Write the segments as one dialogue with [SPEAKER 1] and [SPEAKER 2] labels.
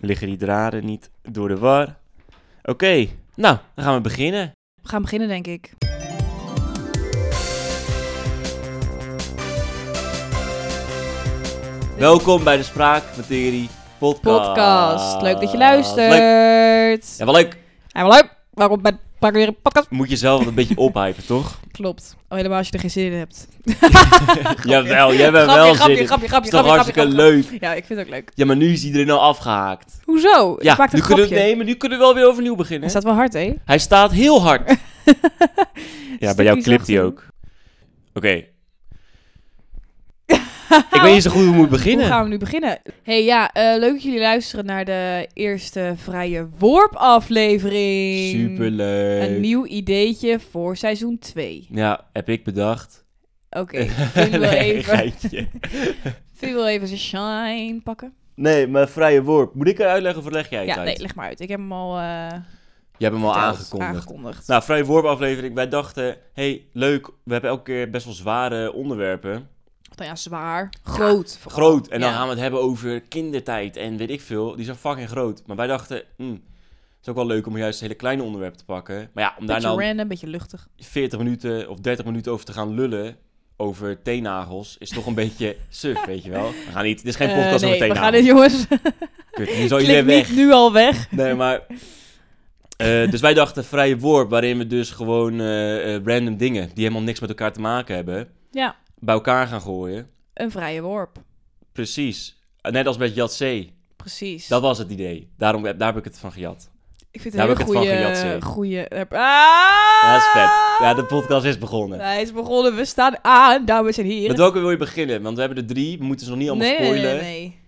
[SPEAKER 1] Liggen die draden niet door de war? Oké, nou, dan gaan we beginnen.
[SPEAKER 2] We gaan beginnen, denk ik.
[SPEAKER 1] Welkom bij de Spraakmaterie Podcast.
[SPEAKER 2] Podcast. Leuk dat je
[SPEAKER 1] Leuk.
[SPEAKER 2] luistert.
[SPEAKER 1] Ja, wel leuk.
[SPEAKER 2] En wel leuk. Waarom bij pak weer een podcast?
[SPEAKER 1] Moet je zelf wel een beetje ophypen, toch?
[SPEAKER 2] Klopt. Oh, helemaal als je er geen zin in hebt.
[SPEAKER 1] Jawel, jij bent
[SPEAKER 2] grapje,
[SPEAKER 1] wel
[SPEAKER 2] grapje,
[SPEAKER 1] zin in.
[SPEAKER 2] grapje,
[SPEAKER 1] Is
[SPEAKER 2] grapje, grapje,
[SPEAKER 1] toch
[SPEAKER 2] grapje,
[SPEAKER 1] hartstikke
[SPEAKER 2] grapje,
[SPEAKER 1] leuk.
[SPEAKER 2] grapje. Ja, ik vind het ook leuk.
[SPEAKER 1] Ja, maar nu is iedereen al afgehaakt.
[SPEAKER 2] Hoezo?
[SPEAKER 1] Ja,
[SPEAKER 2] ik maak
[SPEAKER 1] nu
[SPEAKER 2] een
[SPEAKER 1] kunnen we
[SPEAKER 2] grapje.
[SPEAKER 1] het nemen, nu kunnen we wel weer overnieuw beginnen.
[SPEAKER 2] Hij staat wel hard, hè?
[SPEAKER 1] Hij staat heel hard. ja, bij jou
[SPEAKER 2] Stukjes
[SPEAKER 1] klipt hij
[SPEAKER 2] achter.
[SPEAKER 1] ook. Oké. Ik weet niet zo goed hoe we moeten beginnen.
[SPEAKER 2] Hoe gaan we nu beginnen? hey, ja, eh, leuk dat jullie luisteren naar de eerste vrije worp aflevering. Een
[SPEAKER 1] Superleuk.
[SPEAKER 2] nieuw ideetje voor seizoen 2.
[SPEAKER 1] Ja, heb ik bedacht.
[SPEAKER 2] Oké, vind wil
[SPEAKER 1] nee,
[SPEAKER 2] even,
[SPEAKER 1] geitje.
[SPEAKER 2] Vin wil even zijn shine pakken.
[SPEAKER 1] Nee, maar vrije worp. Moet ik er uitleggen of leg jij het
[SPEAKER 2] Ja,
[SPEAKER 1] uit?
[SPEAKER 2] nee, leg maar uit. Ik heb hem al, eh,
[SPEAKER 1] Jij hebt hem al
[SPEAKER 2] verteld,
[SPEAKER 1] aangekondigd.
[SPEAKER 2] aangekondigd.
[SPEAKER 1] Nou, vrije worp aflevering. Wij dachten, hey, leuk. We hebben elke keer best wel zware onderwerpen.
[SPEAKER 2] Nou ja, zwaar. Groot. vooral.
[SPEAKER 1] Groot. En dan
[SPEAKER 2] Ja.
[SPEAKER 1] gaan we het hebben over kindertijd en weet ik veel. Die zijn fucking groot. Maar wij dachten, hm, het is ook wel leuk om juist hele kleine onderwerpen te pakken. Maar ja, om daar
[SPEAKER 2] Beetje
[SPEAKER 1] nou
[SPEAKER 2] random, beetje luchtig.
[SPEAKER 1] 40 minuten of 30 minuten over te gaan lullen over teennagels is toch een beetje suf, weet je wel. We gaan niet, dit is geen
[SPEAKER 2] Eh,
[SPEAKER 1] podcast
[SPEAKER 2] nee,
[SPEAKER 1] over
[SPEAKER 2] we gaan
[SPEAKER 1] teennagels.
[SPEAKER 2] dit, jongens.
[SPEAKER 1] Kut, nu zal
[SPEAKER 2] Klik
[SPEAKER 1] iedereen weg.
[SPEAKER 2] niet nu al weg.
[SPEAKER 1] Nee, maar... eh, dus wij dachten vrije worp, waarin we dus gewoon eh, eh, random dingen die helemaal niks met elkaar te maken hebben,
[SPEAKER 2] Ja,
[SPEAKER 1] bij elkaar gaan gooien.
[SPEAKER 2] een vrije worp.
[SPEAKER 1] Precies. Net als met Jat C.
[SPEAKER 2] Precies.
[SPEAKER 1] Dat was het idee. Daarom, daar heb ik het van gejat.
[SPEAKER 2] ik vind
[SPEAKER 1] daar
[SPEAKER 2] een
[SPEAKER 1] heb
[SPEAKER 2] hele
[SPEAKER 1] ik het van
[SPEAKER 2] goede...
[SPEAKER 1] gejat, zeg.
[SPEAKER 2] goede ah!
[SPEAKER 1] Ja, dat is vet. Ja, de podcast is begonnen.
[SPEAKER 2] Hij is begonnen. We staan aan. Dames en heren.
[SPEAKER 1] Met welke wil je beginnen? Want we hebben er drie. We moeten ze nog niet allemaal
[SPEAKER 2] nee,
[SPEAKER 1] spoilen.
[SPEAKER 2] nee, nee.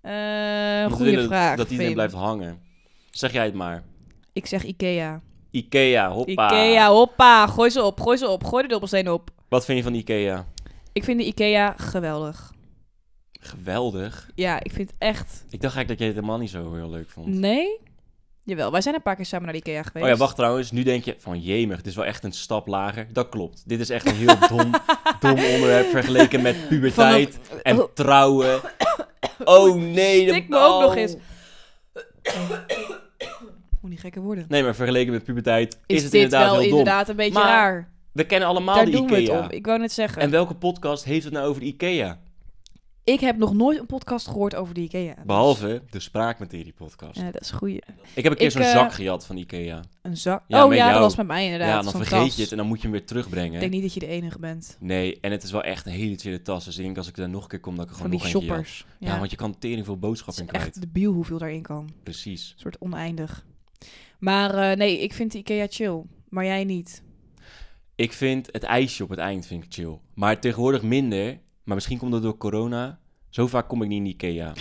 [SPEAKER 2] Eh,
[SPEAKER 1] Want we
[SPEAKER 2] goede
[SPEAKER 1] willen
[SPEAKER 2] vraag.
[SPEAKER 1] Dat iedereen
[SPEAKER 2] Vin.
[SPEAKER 1] blijft hangen. Zeg jij het maar.
[SPEAKER 2] Ik zeg Ikea.
[SPEAKER 1] Ikea, hoppa.
[SPEAKER 2] Ikea, hoppa. Gooi ze op, gooi ze op. Gooi de dobbelsteen op.
[SPEAKER 1] Wat vind je van Ikea?
[SPEAKER 2] Ik vind de Ikea geweldig.
[SPEAKER 1] Geweldig.
[SPEAKER 2] Ja, ik vind het echt...
[SPEAKER 1] Ik dacht eigenlijk dat jij het helemaal niet zo heel leuk vond.
[SPEAKER 2] Nee? Jawel, wij zijn een paar keer samen naar de Ikea geweest.
[SPEAKER 1] Oh ja, wacht trouwens. Nu denk je van jemig, dit is wel echt een stap lager. Dat klopt. Dit is echt een heel dom, dom onderwerp vergeleken met puberteit en
[SPEAKER 2] Oh.
[SPEAKER 1] trouwen. Oh nee. de-
[SPEAKER 2] Stik me ook nog
[SPEAKER 1] oh.
[SPEAKER 2] eens. Moet niet gekker worden.
[SPEAKER 1] Nee, maar vergeleken met puberteit is,
[SPEAKER 2] Is,
[SPEAKER 1] het
[SPEAKER 2] dit
[SPEAKER 1] inderdaad
[SPEAKER 2] wel
[SPEAKER 1] heel dom.
[SPEAKER 2] inderdaad een beetje
[SPEAKER 1] Maar
[SPEAKER 2] raar?
[SPEAKER 1] We kennen allemaal
[SPEAKER 2] Daar
[SPEAKER 1] de
[SPEAKER 2] doen we
[SPEAKER 1] Ikea.
[SPEAKER 2] het om. Ik wou net zeggen.
[SPEAKER 1] En welke podcast heeft het nou over de Ikea?
[SPEAKER 2] Ik heb nog nooit een podcast gehoord over de Ikea. Dus-
[SPEAKER 1] Behalve de Spraakmaterie podcast.
[SPEAKER 2] Ja, dat is een goeie.
[SPEAKER 1] Ik heb een keer
[SPEAKER 2] Ik,
[SPEAKER 1] zo'n
[SPEAKER 2] eh,
[SPEAKER 1] zak gejat van Ikea.
[SPEAKER 2] Een zak.
[SPEAKER 1] Ja,
[SPEAKER 2] oh
[SPEAKER 1] met
[SPEAKER 2] ja,
[SPEAKER 1] jou.
[SPEAKER 2] dat was met mij inderdaad.
[SPEAKER 1] Ja, dan
[SPEAKER 2] Zo'n
[SPEAKER 1] vergeet
[SPEAKER 2] tas.
[SPEAKER 1] je het en dan moet je hem weer terugbrengen.
[SPEAKER 2] Ik denk niet dat je de enige bent.
[SPEAKER 1] Nee, en het is wel echt een hele chille tas. Dus ik denk als ik daar nog een keer kom, dat ik er
[SPEAKER 2] Van
[SPEAKER 1] gewoon
[SPEAKER 2] die
[SPEAKER 1] nog eentje
[SPEAKER 2] shoppers.
[SPEAKER 1] had. Ja. want je kan tering veel
[SPEAKER 2] het
[SPEAKER 1] boodschappen
[SPEAKER 2] is
[SPEAKER 1] in kwijt.
[SPEAKER 2] echt debiel hoeveel daarin kan.
[SPEAKER 1] Precies.
[SPEAKER 2] Een soort oneindig. Maar eh, nee, ik vind de Ikea chill. Maar jij niet.
[SPEAKER 1] Ik vind het ijsje op het eind vind ik chill. Maar tegenwoordig minder. Maar misschien komt dat door corona. Zo vaak kom ik niet in Ikea.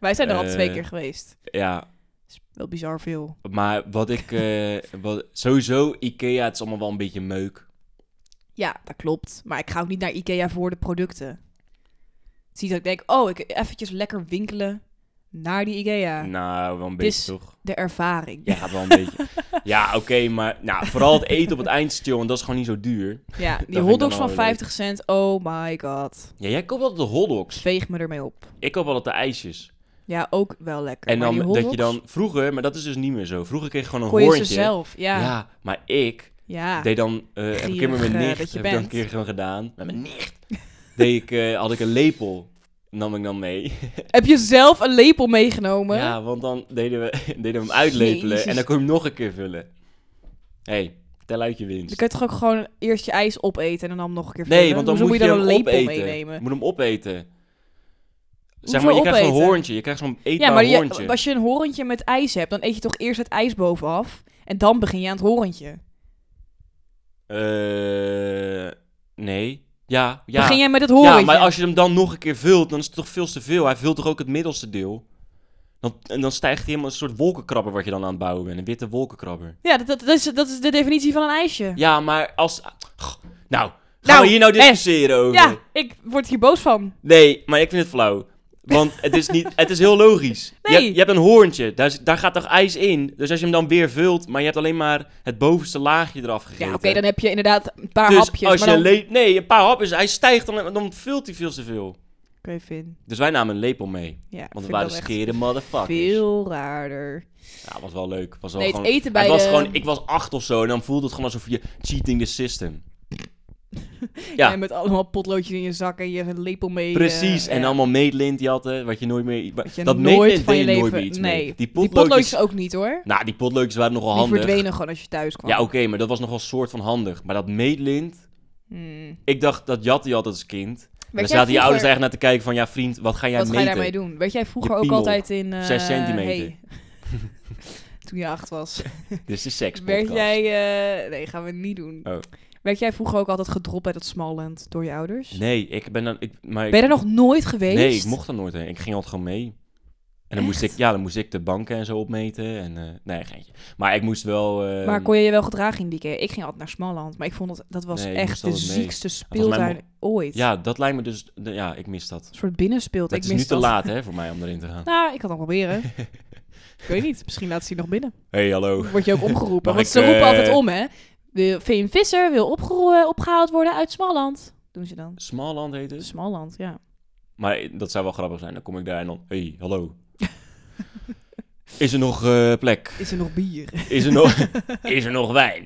[SPEAKER 2] Wij zijn er al
[SPEAKER 1] Eh,
[SPEAKER 2] twee keer geweest.
[SPEAKER 1] Ja,
[SPEAKER 2] Dat is wel bizar veel.
[SPEAKER 1] maar wat ik... eh, wat, sowieso, Ikea, het is allemaal wel een beetje meuk.
[SPEAKER 2] Ja, dat klopt. Maar ik ga ook niet naar Ikea voor de producten. Het is niet dat ik denk, oh, ik eventjes lekker winkelen naar die Ikea.
[SPEAKER 1] Nou, wel een
[SPEAKER 2] Het
[SPEAKER 1] beetje
[SPEAKER 2] is-
[SPEAKER 1] toch?
[SPEAKER 2] De ervaring.
[SPEAKER 1] Ja, gaat wel een beetje. Ja, oké, maar nou, vooral het eten op het eind is chill. En dat is gewoon niet zo duur.
[SPEAKER 2] Ja, die
[SPEAKER 1] dan
[SPEAKER 2] hotdogs
[SPEAKER 1] wel
[SPEAKER 2] van
[SPEAKER 1] weer
[SPEAKER 2] 50 cent. Oh my god.
[SPEAKER 1] Ja, jij koopt altijd de hotdogs.
[SPEAKER 2] Zweeg me ermee op.
[SPEAKER 1] Ik koop altijd de ijsjes.
[SPEAKER 2] Ja, ook wel lekker.
[SPEAKER 1] En
[SPEAKER 2] Maar
[SPEAKER 1] dan
[SPEAKER 2] die
[SPEAKER 1] dat je
[SPEAKER 2] hotdogs
[SPEAKER 1] dan vroeger, maar dat is dus niet meer zo. Vroeger kreeg je gewoon een
[SPEAKER 2] kon je
[SPEAKER 1] hoortje.
[SPEAKER 2] ze zelf. Ja.
[SPEAKER 1] Ja.
[SPEAKER 2] ja.
[SPEAKER 1] maar ik deed dan eh, heb ik een keer met
[SPEAKER 2] Gierig,
[SPEAKER 1] mijn
[SPEAKER 2] eh,
[SPEAKER 1] nicht
[SPEAKER 2] dat je
[SPEAKER 1] heb ik dan een
[SPEAKER 2] bent.
[SPEAKER 1] keer gewoon gedaan. Met mijn nicht deed ik eh, had ik een lepel nam ik dan mee.
[SPEAKER 2] Heb je zelf een lepel meegenomen?
[SPEAKER 1] Ja, want dan deden we deden we hem uitlepelen
[SPEAKER 2] Jezus.
[SPEAKER 1] en dan kon je hem nog een keer vullen. hey, tel uit je winst.
[SPEAKER 2] Dan kun je toch ook gewoon eerst je ijs opeten en dan nog een keer vullen?
[SPEAKER 1] Nee, want dan
[SPEAKER 2] Hoezo
[SPEAKER 1] moet je,
[SPEAKER 2] je dan
[SPEAKER 1] hem
[SPEAKER 2] een lepel
[SPEAKER 1] opeten.
[SPEAKER 2] meenemen?
[SPEAKER 1] Je moet hem opeten. Zeg
[SPEAKER 2] Hoezo
[SPEAKER 1] maar, je krijgt zo'n
[SPEAKER 2] opeten?
[SPEAKER 1] hoorntje. Je krijgt zo'n eetbaar
[SPEAKER 2] Ja, maar je-
[SPEAKER 1] hoorntje.
[SPEAKER 2] als je een horentje met ijs hebt, dan eet je toch eerst het ijs bovenaf en dan begin je aan het horentje.
[SPEAKER 1] Eh, nee. Ja, ja.
[SPEAKER 2] Begin jij met het horentje?
[SPEAKER 1] ja, maar als je hem dan nog een keer vult, dan is het toch veel te veel. Hij vult toch ook het middelste deel? Dan, en dan stijgt hij helemaal een soort wolkenkrabber wat je dan aan het bouwen bent. Een witte wolkenkrabber.
[SPEAKER 2] Ja, dat, dat, dat is, dat is de definitie van een ijsje.
[SPEAKER 1] Ja, maar als... Nou, gaan
[SPEAKER 2] Nou,
[SPEAKER 1] we hier nou
[SPEAKER 2] eh,
[SPEAKER 1] discussiëren over?
[SPEAKER 2] Ja, ik word hier boos van.
[SPEAKER 1] Nee, maar ik vind het flauw. Want het is, niet, het is heel logisch. Je,
[SPEAKER 2] Nee.
[SPEAKER 1] hebt- je hebt een hoorntje, daar, zit- daar gaat toch ijs in? Dus als je hem dan weer vult, maar je hebt alleen maar het bovenste laagje eraf gegeten.
[SPEAKER 2] Ja, oké, dan heb je inderdaad een paar
[SPEAKER 1] dus
[SPEAKER 2] hapjes.
[SPEAKER 1] als
[SPEAKER 2] maar
[SPEAKER 1] je
[SPEAKER 2] dan-
[SPEAKER 1] le- Nee, een paar hapjes, hij stijgt, dan, dan vult hij veel te veel.
[SPEAKER 2] Kevin.
[SPEAKER 1] Dus wij namen een lepel mee.
[SPEAKER 2] Ja,
[SPEAKER 1] Want
[SPEAKER 2] vind
[SPEAKER 1] we
[SPEAKER 2] ik
[SPEAKER 1] waren
[SPEAKER 2] wel echt
[SPEAKER 1] skere motherfuckers.
[SPEAKER 2] Veel raarder.
[SPEAKER 1] Ja, was wel leuk. Was wel
[SPEAKER 2] nee,
[SPEAKER 1] gewoon...
[SPEAKER 2] het eten bij
[SPEAKER 1] het was
[SPEAKER 2] de...
[SPEAKER 1] gewoon, ik was acht of zo en dan voelde het gewoon alsof je cheating the system. ja.
[SPEAKER 2] En met allemaal potloodjes in je zak en je hebt een lepel mee. eh,
[SPEAKER 1] Precies, en
[SPEAKER 2] ja.
[SPEAKER 1] allemaal meetlint jatten, wat je nooit meer...
[SPEAKER 2] Dat je
[SPEAKER 1] dat
[SPEAKER 2] nooit
[SPEAKER 1] meetlint
[SPEAKER 2] van je
[SPEAKER 1] deed je
[SPEAKER 2] leven...
[SPEAKER 1] nooit meer iets mee.
[SPEAKER 2] nee,
[SPEAKER 1] Die
[SPEAKER 2] die
[SPEAKER 1] potloodjes...
[SPEAKER 2] potloodjes ook niet hoor.
[SPEAKER 1] Nou, die potloodjes waren nogal
[SPEAKER 2] Die
[SPEAKER 1] handig.
[SPEAKER 2] verdwenen gewoon als je thuis kwam.
[SPEAKER 1] Ja, oké, maar dat was nogal soort van handig. Maar dat meetlint...
[SPEAKER 2] Hmm.
[SPEAKER 1] Ik dacht, dat jatte je altijd als kind. En
[SPEAKER 2] Werd
[SPEAKER 1] dan
[SPEAKER 2] jij
[SPEAKER 1] zaten je
[SPEAKER 2] vroeger-
[SPEAKER 1] ouders eigenlijk naar te kijken van... Ja, vriend, wat ga jij
[SPEAKER 2] Wat ga je
[SPEAKER 1] meten?
[SPEAKER 2] daarmee doen? Weet jij vroeger
[SPEAKER 1] Je
[SPEAKER 2] ook
[SPEAKER 1] piemel.
[SPEAKER 2] altijd in... eh,
[SPEAKER 1] Zes centimeter.
[SPEAKER 2] hey. Toen je acht was.
[SPEAKER 1] Dit is Dus de
[SPEAKER 2] Werd
[SPEAKER 1] sekspodcast.
[SPEAKER 2] jij... eh, Nee, gaan we niet doen.
[SPEAKER 1] Oh.
[SPEAKER 2] Werd jij vroeger ook altijd gedropt uit het Smalland door je ouders?
[SPEAKER 1] Nee, ik ben dan... Ik, maar ik-
[SPEAKER 2] Ben je er nog nooit geweest?
[SPEAKER 1] Nee, ik mocht er nooit heen. Ik ging altijd gewoon mee. En dan moest ik,
[SPEAKER 2] Echt?
[SPEAKER 1] ja, dan moest ik de banken en zo opmeten. En, eh, nee, geintje. Maar ik moest wel... eh,
[SPEAKER 2] Maar kon je je wel gedragen in die keer? Ik ging altijd naar Smalland, maar ik vond dat, dat was
[SPEAKER 1] Nee, ik
[SPEAKER 2] echt
[SPEAKER 1] moest
[SPEAKER 2] de
[SPEAKER 1] altijd mee.
[SPEAKER 2] ziekste
[SPEAKER 1] volgens mij
[SPEAKER 2] speeltuin ooit.
[SPEAKER 1] Ja, dat lijkt me dus... de- ja, ik mis dat.
[SPEAKER 2] Een soort binnenspeelt.
[SPEAKER 1] Maar
[SPEAKER 2] Ik
[SPEAKER 1] het is
[SPEAKER 2] mis
[SPEAKER 1] nu te
[SPEAKER 2] dat.
[SPEAKER 1] laat, hè, voor mij om erin te gaan.
[SPEAKER 2] Nou, ik kan het nog proberen. ik weet niet, misschien laat ze je nog binnen.
[SPEAKER 1] hey, hallo.
[SPEAKER 2] Dan Word je ook
[SPEAKER 1] Mag
[SPEAKER 2] omgeroepen. want
[SPEAKER 1] ik,
[SPEAKER 2] ze roepen
[SPEAKER 1] eh,
[SPEAKER 2] altijd om, hè? Wil- Veen Visser wil opgero- opgehaald worden uit Smalland. Doen ze dan.
[SPEAKER 1] Smalland heet het.
[SPEAKER 2] Smalland, ja.
[SPEAKER 1] Maar dat zou wel grappig zijn. Dan kom ik daar en dan... hey, hallo. Is er nog eh, plek?
[SPEAKER 2] Is er nog bier?
[SPEAKER 1] Is er nog, is er nog wijn?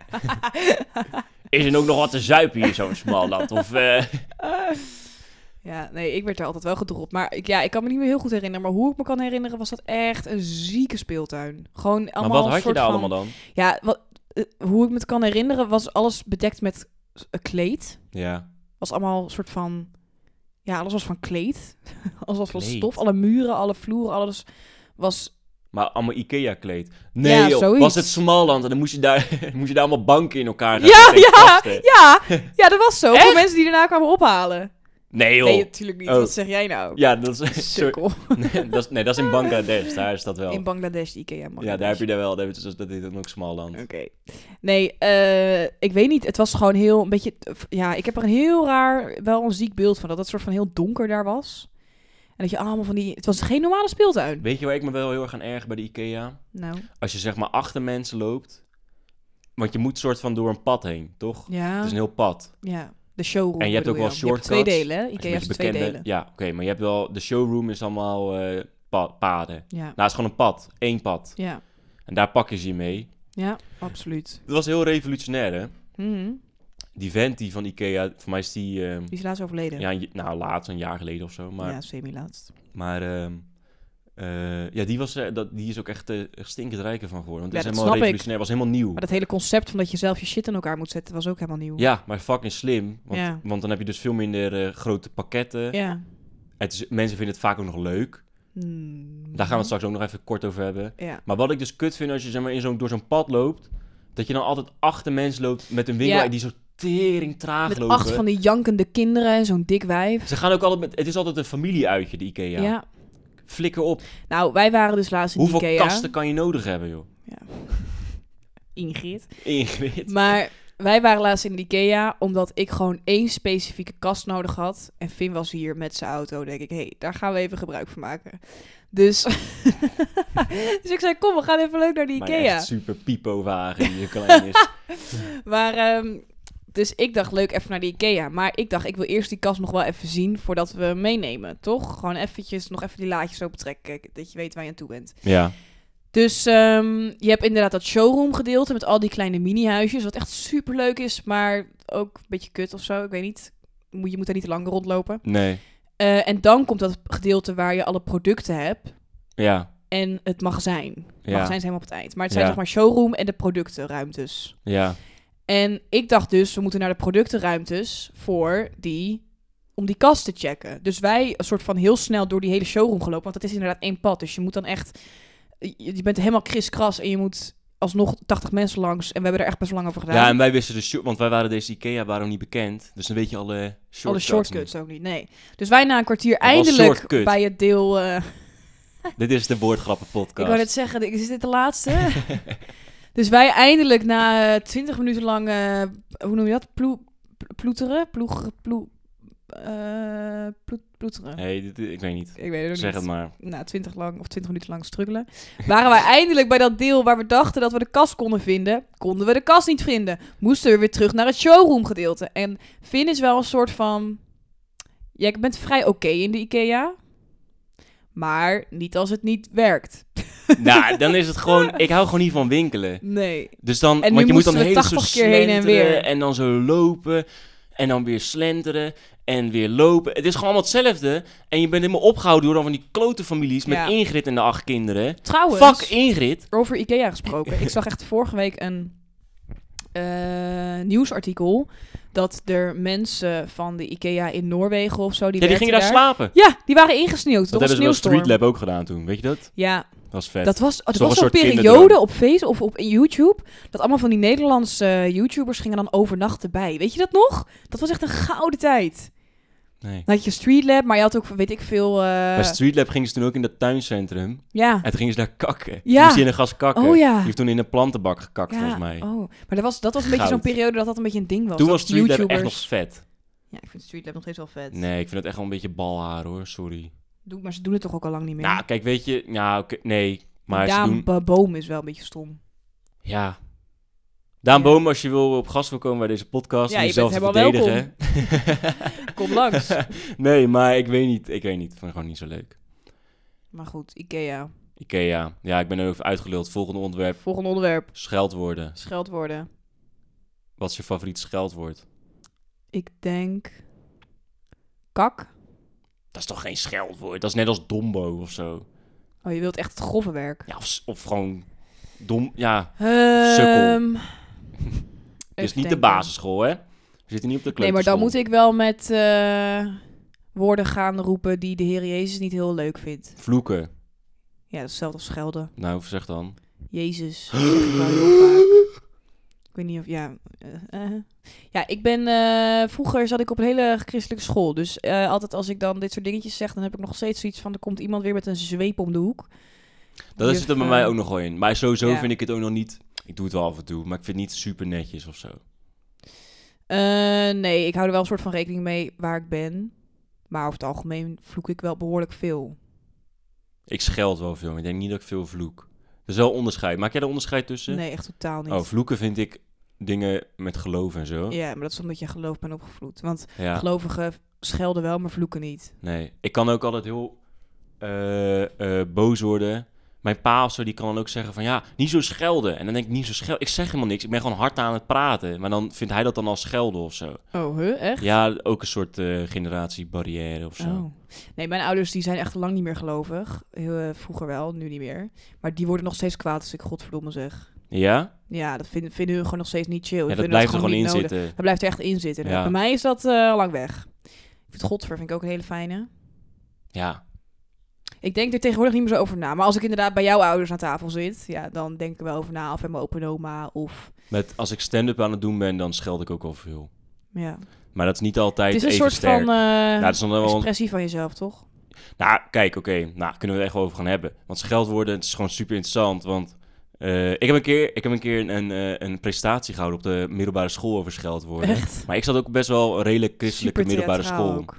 [SPEAKER 1] Is er ook nog wat te zuipen hier zo'n Smalland? Of, eh,
[SPEAKER 2] ja, nee, ik werd er altijd wel gedropt. Maar ik, ja, ik kan me niet meer heel goed herinneren. Maar hoe ik me kan herinneren, was dat echt een zieke speeltuin. Gewoon allemaal
[SPEAKER 1] Maar wat
[SPEAKER 2] een
[SPEAKER 1] had je
[SPEAKER 2] soort
[SPEAKER 1] daar
[SPEAKER 2] van-
[SPEAKER 1] allemaal dan?
[SPEAKER 2] Ja, wat, eh, hoe ik me het kan herinneren, was alles bedekt met s- eh, kleed.
[SPEAKER 1] Ja.
[SPEAKER 2] Was allemaal een soort van. Ja, alles was van kleed. alles was van
[SPEAKER 1] Kleed.
[SPEAKER 2] stof. Alle muren, alle vloeren, alles was.
[SPEAKER 1] Maar allemaal Ikea-kleed. Nee, joh,
[SPEAKER 2] zoiets.
[SPEAKER 1] was het Smalland en dan moest je daar, moest je daar allemaal banken in elkaar gaan
[SPEAKER 2] Ja,
[SPEAKER 1] zetten en
[SPEAKER 2] ja,
[SPEAKER 1] kasten.
[SPEAKER 2] ja, ja, dat was zo. Voor mensen die daarna kwamen ophalen.
[SPEAKER 1] Nee, joh.
[SPEAKER 2] Nee, natuurlijk niet.
[SPEAKER 1] Oh.
[SPEAKER 2] Wat zeg jij nou?
[SPEAKER 1] Ja, dat is... sorry.
[SPEAKER 2] Sukkel.
[SPEAKER 1] Nee, dat is, nee, dat is in Bangladesh. Daar is dat wel.
[SPEAKER 2] In Bangladesh, de Ikea. mag
[SPEAKER 1] ja,
[SPEAKER 2] niet.
[SPEAKER 1] daar heb je daar wel. daar heb je- dus Dat is dan ook Smalland.
[SPEAKER 2] Oké. Nee, eh, ik weet niet. Het was gewoon heel een beetje. Ja, ik heb er een heel raar, wel een ziek beeld van dat het soort van heel donker daar was. En dat je allemaal van die. Het was geen normale speeltuin.
[SPEAKER 1] Weet je waar ik me wel heel erg aan erg bij de Ikea?
[SPEAKER 2] Nou.
[SPEAKER 1] Als je zeg maar achter mensen loopt. Want je moet soort van door een pad heen, toch? Het
[SPEAKER 2] Ja.
[SPEAKER 1] is een heel pad.
[SPEAKER 2] Ja. De showroom.
[SPEAKER 1] En je hebt ook
[SPEAKER 2] bedoel
[SPEAKER 1] wel
[SPEAKER 2] dan. Je hebt
[SPEAKER 1] shortcuts.
[SPEAKER 2] Twee delen, hè?
[SPEAKER 1] Als je
[SPEAKER 2] Ikea
[SPEAKER 1] een
[SPEAKER 2] heeft dus
[SPEAKER 1] beetje
[SPEAKER 2] twee
[SPEAKER 1] bekende-
[SPEAKER 2] delen.
[SPEAKER 1] Ja, oké. maar je hebt wel... De showroom is allemaal eh, pa- paden. Nou,
[SPEAKER 2] Ja.
[SPEAKER 1] het is gewoon een pad. Eén pad.
[SPEAKER 2] Ja.
[SPEAKER 1] En daar pak je ze mee.
[SPEAKER 2] Ja, absoluut.
[SPEAKER 1] Dat was heel revolutionair, hè?
[SPEAKER 2] Mhm.
[SPEAKER 1] Die vent die van Ikea... Voor mij is die... ehm,
[SPEAKER 2] Die is laatst overleden.
[SPEAKER 1] ja, een- nou, laatst, een jaar geleden of zo. Maar
[SPEAKER 2] ja semi-laatst.
[SPEAKER 1] Maar ehm, eh, ja, die, was, eh, dat, die is ook echt eh, echt stinkend rijker van geworden. Want
[SPEAKER 2] Ja,
[SPEAKER 1] het is helemaal
[SPEAKER 2] dat snap ik.
[SPEAKER 1] revolutionair, was helemaal nieuw.
[SPEAKER 2] Maar dat hele concept van dat je zelf je shit in elkaar moet zetten was ook helemaal nieuw.
[SPEAKER 1] Ja, maar fucking slim. Want,
[SPEAKER 2] Ja.
[SPEAKER 1] want dan heb je dus veel minder eh, grote pakketten.
[SPEAKER 2] Ja.
[SPEAKER 1] Het is, mensen vinden het vaak ook nog leuk.
[SPEAKER 2] Hmm.
[SPEAKER 1] Daar gaan we het straks ook nog even kort over hebben.
[SPEAKER 2] Ja.
[SPEAKER 1] Maar wat ik dus kut vind als je zeg maar, in zo'n door zo'n pad loopt... dat je dan altijd achter mensen loopt met een winkel
[SPEAKER 2] Ja.
[SPEAKER 1] die zo tering traag
[SPEAKER 2] Met
[SPEAKER 1] lopen.
[SPEAKER 2] acht van die jankende kinderen en zo'n dik wijf.
[SPEAKER 1] Ze gaan ook altijd met... Het is altijd een familieuitje, de Ikea.
[SPEAKER 2] Ja.
[SPEAKER 1] Flikker op.
[SPEAKER 2] Nou, wij waren dus laatst in
[SPEAKER 1] Hoeveel
[SPEAKER 2] Ikea.
[SPEAKER 1] kasten kan je nodig hebben, joh?
[SPEAKER 2] Ingrid.
[SPEAKER 1] Ingrid.
[SPEAKER 2] Maar wij waren laatst in de Ikea omdat ik gewoon één specifieke kast nodig had. En Finn was hier met zijn auto. denk ik, hé, hey, daar gaan we even gebruik van maken. Dus... dus ik zei, kom, we gaan even leuk naar de
[SPEAKER 1] Mijn
[SPEAKER 2] Ikea.
[SPEAKER 1] echt super pipo wagen die zo klein is.
[SPEAKER 2] Maar, ehm, dus ik dacht, leuk, even naar de Ikea. Maar ik dacht, ik wil eerst die kast nog wel even zien voordat we hem meenemen, toch? Gewoon eventjes, nog even die laadjes open trekken, dat je weet waar je aan toe bent.
[SPEAKER 1] Ja.
[SPEAKER 2] Dus ehm, je hebt inderdaad dat showroom gedeelte met al die kleine mini-huisjes, wat echt super leuk is, maar ook een beetje kut of zo, ik weet niet. Moet- Je moet daar niet te lang rondlopen.
[SPEAKER 1] Nee.
[SPEAKER 2] Eh, en dan komt dat gedeelte waar je alle producten hebt
[SPEAKER 1] Ja.
[SPEAKER 2] en het magazijn. Het
[SPEAKER 1] Ja.
[SPEAKER 2] magazijn is helemaal op het eind. Maar het zijn
[SPEAKER 1] Ja.
[SPEAKER 2] zeg maar showroom en de productenruimtes.
[SPEAKER 1] Ja.
[SPEAKER 2] En ik dacht dus, we moeten naar de productenruimtes voor die, om die kast te checken. Dus wij een soort van heel snel door die hele showroom gelopen, want het is inderdaad één pad. Dus je moet dan echt, je je bent helemaal kriskras en je moet alsnog 80 mensen langs. En we hebben er echt best lang over gedaan.
[SPEAKER 1] Ja, en wij wisten de short, want wij waren deze Ikea waren nog niet bekend. Dus dan weet je alle shortcuts.
[SPEAKER 2] Alle shortcuts ook niet, nee. Dus wij na een kwartier
[SPEAKER 1] was
[SPEAKER 2] eindelijk
[SPEAKER 1] shortcut.
[SPEAKER 2] bij het deel... eh,
[SPEAKER 1] niet. Dit is de woordgrappen
[SPEAKER 2] ik
[SPEAKER 1] podcast.
[SPEAKER 2] wou net zeggen, is dit de laatste? dus wij eindelijk na eh, 20 minuten lang, eh, hoe noem je dat? Ploe- ploeteren? Ploeg, ploe, eh, ploet, ploeteren.
[SPEAKER 1] Nee, dit, ik weet niet.
[SPEAKER 2] Ik weet het ook
[SPEAKER 1] Zeg
[SPEAKER 2] niet.
[SPEAKER 1] het maar.
[SPEAKER 2] Na 20 lang of 20 minuten lang struggelen. Waren wij eindelijk bij dat deel waar we dachten dat we de kast konden vinden. Konden we de kast niet vinden. Moesten we weer terug naar het showroom gedeelte. En Finn is wel een soort van. Jij bent vrij oké in de IKEA. Maar niet als het niet werkt.
[SPEAKER 1] nou, dan is het gewoon... Ik hou gewoon niet van winkelen.
[SPEAKER 2] Nee.
[SPEAKER 1] Dus dan...
[SPEAKER 2] En nu
[SPEAKER 1] want je moet dan
[SPEAKER 2] moesten we
[SPEAKER 1] heel
[SPEAKER 2] 80 keer heen en weer.
[SPEAKER 1] En dan zo lopen. En dan weer slenteren. En weer lopen. Het is gewoon allemaal hetzelfde. En je bent helemaal opgehouden door dan van die klote families met
[SPEAKER 2] Ja. Oh,
[SPEAKER 1] Ingrid en de acht kinderen.
[SPEAKER 2] Trouwens.
[SPEAKER 1] Fuck Ingrid.
[SPEAKER 2] Over IKEA gesproken. Ik zag echt vorige week een eh, nieuwsartikel dat er mensen van de IKEA in Noorwegen of zo die
[SPEAKER 1] ja, die
[SPEAKER 2] werkten
[SPEAKER 1] gingen daar slapen.
[SPEAKER 2] Ja, die waren ingesneeuwd
[SPEAKER 1] Dat
[SPEAKER 2] door een
[SPEAKER 1] hebben ze bij
[SPEAKER 2] sneeuwstorm.
[SPEAKER 1] Street Lab ook gedaan toen. Weet je dat?
[SPEAKER 2] Ja,
[SPEAKER 1] Dat was vet.
[SPEAKER 2] dat was,
[SPEAKER 1] is
[SPEAKER 2] er
[SPEAKER 1] toch
[SPEAKER 2] was
[SPEAKER 1] een
[SPEAKER 2] zo'n
[SPEAKER 1] soort
[SPEAKER 2] periode
[SPEAKER 1] kinderdroom.
[SPEAKER 2] op Facebook of op YouTube dat allemaal van die Nederlandse eh, YouTubers gingen dan overnachten bij. Weet je dat nog? Dat was echt een gouden tijd.
[SPEAKER 1] Nee.
[SPEAKER 2] Dan had je Street Lab, maar je had ook weet ik veel. eh,
[SPEAKER 1] Bij Street Lab gingen ze toen ook in dat tuincentrum.
[SPEAKER 2] ja.
[SPEAKER 1] En toen gingen ze daar kakken.
[SPEAKER 2] Ja.
[SPEAKER 1] Moest je in een gas kakken.
[SPEAKER 2] Oh ja.
[SPEAKER 1] Die heeft toen in een plantenbak gekakt,
[SPEAKER 2] Ja,
[SPEAKER 1] volgens mij.
[SPEAKER 2] Oh, maar dat was, dat was een beetje zo'n
[SPEAKER 1] Goud.
[SPEAKER 2] periode dat dat een beetje een ding was.
[SPEAKER 1] toen
[SPEAKER 2] dat
[SPEAKER 1] was Street Lab echt
[SPEAKER 2] YouTubers-
[SPEAKER 1] nog vet.
[SPEAKER 2] Ja, ik vind Street Lab nog steeds wel vet.
[SPEAKER 1] Nee, ik vind het echt wel een beetje balhaar, hoor. Sorry.
[SPEAKER 2] Doe, maar ze doen het toch ook al lang niet meer?
[SPEAKER 1] Nou, kijk, weet je... Nou, oké, nee. Maar
[SPEAKER 2] Daan
[SPEAKER 1] ze doen...
[SPEAKER 2] Ba- Boom is wel een beetje stom.
[SPEAKER 1] Ja. Daan
[SPEAKER 2] Ja.
[SPEAKER 1] Boom, als je wil op gast wil komen bij deze podcast...
[SPEAKER 2] Ja,
[SPEAKER 1] en
[SPEAKER 2] je bent
[SPEAKER 1] jezelf te
[SPEAKER 2] helemaal
[SPEAKER 1] verdedigen.
[SPEAKER 2] Kom langs.
[SPEAKER 1] nee, maar ik weet niet. Ik weet niet. Ik vond het gewoon niet zo leuk.
[SPEAKER 2] maar goed, Ikea.
[SPEAKER 1] Ikea. Ja, ik ben er ook uitgeluld. Volgende onderwerp.
[SPEAKER 2] Volgende onderwerp.
[SPEAKER 1] Scheldwoorden.
[SPEAKER 2] Scheldwoorden.
[SPEAKER 1] Wat is je favoriet scheldwoord?
[SPEAKER 2] Ik denk... Kak.
[SPEAKER 1] Dat is toch geen scheldwoord? Dat is net als dombo of zo.
[SPEAKER 2] Oh, je wilt echt het grove werk.
[SPEAKER 1] Ja, of, s- of gewoon dom. Ja, Sukkel.
[SPEAKER 2] Ehm
[SPEAKER 1] dit is
[SPEAKER 2] even
[SPEAKER 1] niet de
[SPEAKER 2] denken.
[SPEAKER 1] basisschool, hè? We zitten niet op de
[SPEAKER 2] Nee, maar
[SPEAKER 1] kleuterschool.
[SPEAKER 2] dan moet ik wel met eh, woorden gaan roepen die de Heer Jezus niet heel leuk vindt.
[SPEAKER 1] Vloeken.
[SPEAKER 2] Ja, dat is hetzelfde als schelden.
[SPEAKER 1] Nou, zeg dan.
[SPEAKER 2] Jezus. Dat zeg ik wel heel vaak. Ik weet niet of... Ja, eh, eh. ja ik ben... eh, vroeger zat ik op een hele christelijke school. Dus eh, altijd als ik dan dit soort dingetjes zeg... dan heb ik nog steeds zoiets van... er komt iemand weer met een zweep om de hoek.
[SPEAKER 1] Dat
[SPEAKER 2] Juf,
[SPEAKER 1] zit er bij
[SPEAKER 2] eh,
[SPEAKER 1] mij ook nog wel in. Maar sowieso
[SPEAKER 2] ja.
[SPEAKER 1] vind ik het ook nog niet... Ik doe het wel af en toe, maar ik vind het niet super netjes of zo.
[SPEAKER 2] eh, nee, ik hou er wel een soort van rekening mee waar ik ben. Maar over het algemeen vloek ik wel behoorlijk veel.
[SPEAKER 1] Ik scheld wel veel, maar ik denk niet dat ik veel vloek. Er is wel onderscheid. Maak jij er onderscheid tussen?
[SPEAKER 2] Nee, echt totaal niet.
[SPEAKER 1] Oh, vloeken vind ik dingen met geloof en zo.
[SPEAKER 2] Ja, maar dat is omdat je geloof bent opgevloed. Want
[SPEAKER 1] Ja.
[SPEAKER 2] gelovigen schelden wel, maar vloeken niet.
[SPEAKER 1] Nee, ik kan ook altijd heel eh, eh, boos worden. Mijn pa of zo, die kan dan ook zeggen van ja, niet zo schelden. En dan denk ik, niet zo schelden. Ik zeg helemaal niks. Ik ben gewoon hard aan het praten. Maar dan vindt hij dat dan als schelden of zo.
[SPEAKER 2] Oh, huh? Echt?
[SPEAKER 1] Ja, ook een soort eh, generatiebarrière of zo.
[SPEAKER 2] Oh. Nee, mijn ouders die zijn echt lang niet meer gelovig. Heel, eh, vroeger wel, nu niet meer. Maar die worden nog steeds kwaad als ik godverdomme zeg.
[SPEAKER 1] Ja?
[SPEAKER 2] Ja, dat vinden, vinden hun gewoon nog steeds niet chill. Die
[SPEAKER 1] Ja, dat
[SPEAKER 2] vinden
[SPEAKER 1] blijft er gewoon
[SPEAKER 2] niet
[SPEAKER 1] in
[SPEAKER 2] nodig.
[SPEAKER 1] zitten.
[SPEAKER 2] Dat blijft er echt in zitten.
[SPEAKER 1] Ja.
[SPEAKER 2] Bij mij is dat eh, al lang weg. Ik vind godver vind ik ook een hele fijne.
[SPEAKER 1] Ja.
[SPEAKER 2] Ik denk er tegenwoordig niet meer zo over na. Maar als ik inderdaad bij jouw ouders aan tafel zit, ja, dan denk ik er wel over na. Of bij mijn open oma, of...
[SPEAKER 1] Met, als ik stand-up aan het doen ben, dan scheld ik ook al veel.
[SPEAKER 2] Ja.
[SPEAKER 1] Maar dat is niet altijd
[SPEAKER 2] Het is een
[SPEAKER 1] even
[SPEAKER 2] soort
[SPEAKER 1] sterk.
[SPEAKER 2] van eh,
[SPEAKER 1] ja, dat is dan wel...
[SPEAKER 2] expressie van jezelf, toch?
[SPEAKER 1] Nou, kijk, oké. Nou, kunnen we er echt wel over gaan hebben. Want scheldwoorden, het is gewoon super interessant. Want eh, ik heb een keer, ik heb een, keer een, eh, een prestatie gehouden op de middelbare school over scheldwoorden.
[SPEAKER 2] Echt.
[SPEAKER 1] Maar ik zat ook best wel een redelijk christelijke
[SPEAKER 2] Super
[SPEAKER 1] middelbare
[SPEAKER 2] theatraal
[SPEAKER 1] school.
[SPEAKER 2] ook.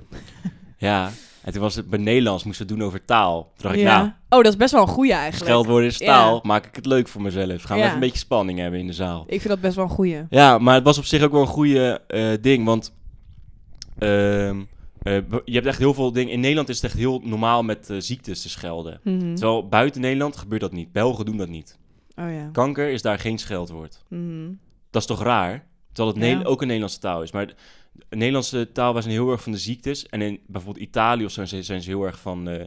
[SPEAKER 1] Ja. En toen was het bij Nederlands, moesten we het doen over taal. Toen dacht ik,
[SPEAKER 2] Ja.
[SPEAKER 1] nou,
[SPEAKER 2] oh, dat is best wel een goeie eigenlijk.
[SPEAKER 1] scheldwoorden is
[SPEAKER 2] Ja.
[SPEAKER 1] taal. Maak ik het leuk voor mezelf. Gaan we
[SPEAKER 2] Ja.
[SPEAKER 1] even een beetje spanning hebben in de zaal.
[SPEAKER 2] Ik vind dat best wel een goeie.
[SPEAKER 1] Ja, maar het was op zich ook wel een goede eh, ding. Want ehm, eh, b- je hebt echt heel veel dingen. In Nederland is het echt heel normaal met eh, ziektes te schelden.
[SPEAKER 2] Mhm.
[SPEAKER 1] Terwijl buiten Nederland gebeurt dat niet. Belgen doen dat niet.
[SPEAKER 2] Oh ja.
[SPEAKER 1] Kanker is daar geen scheldwoord.
[SPEAKER 2] Mhm.
[SPEAKER 1] Dat is toch raar? Terwijl het
[SPEAKER 2] Ja.
[SPEAKER 1] Ne- ook een Nederlandse taal is. Maar de de Nederlandse taal was heel erg van de ziektes. En in bijvoorbeeld Italië of zo zijn ze, zijn ze heel erg van eh,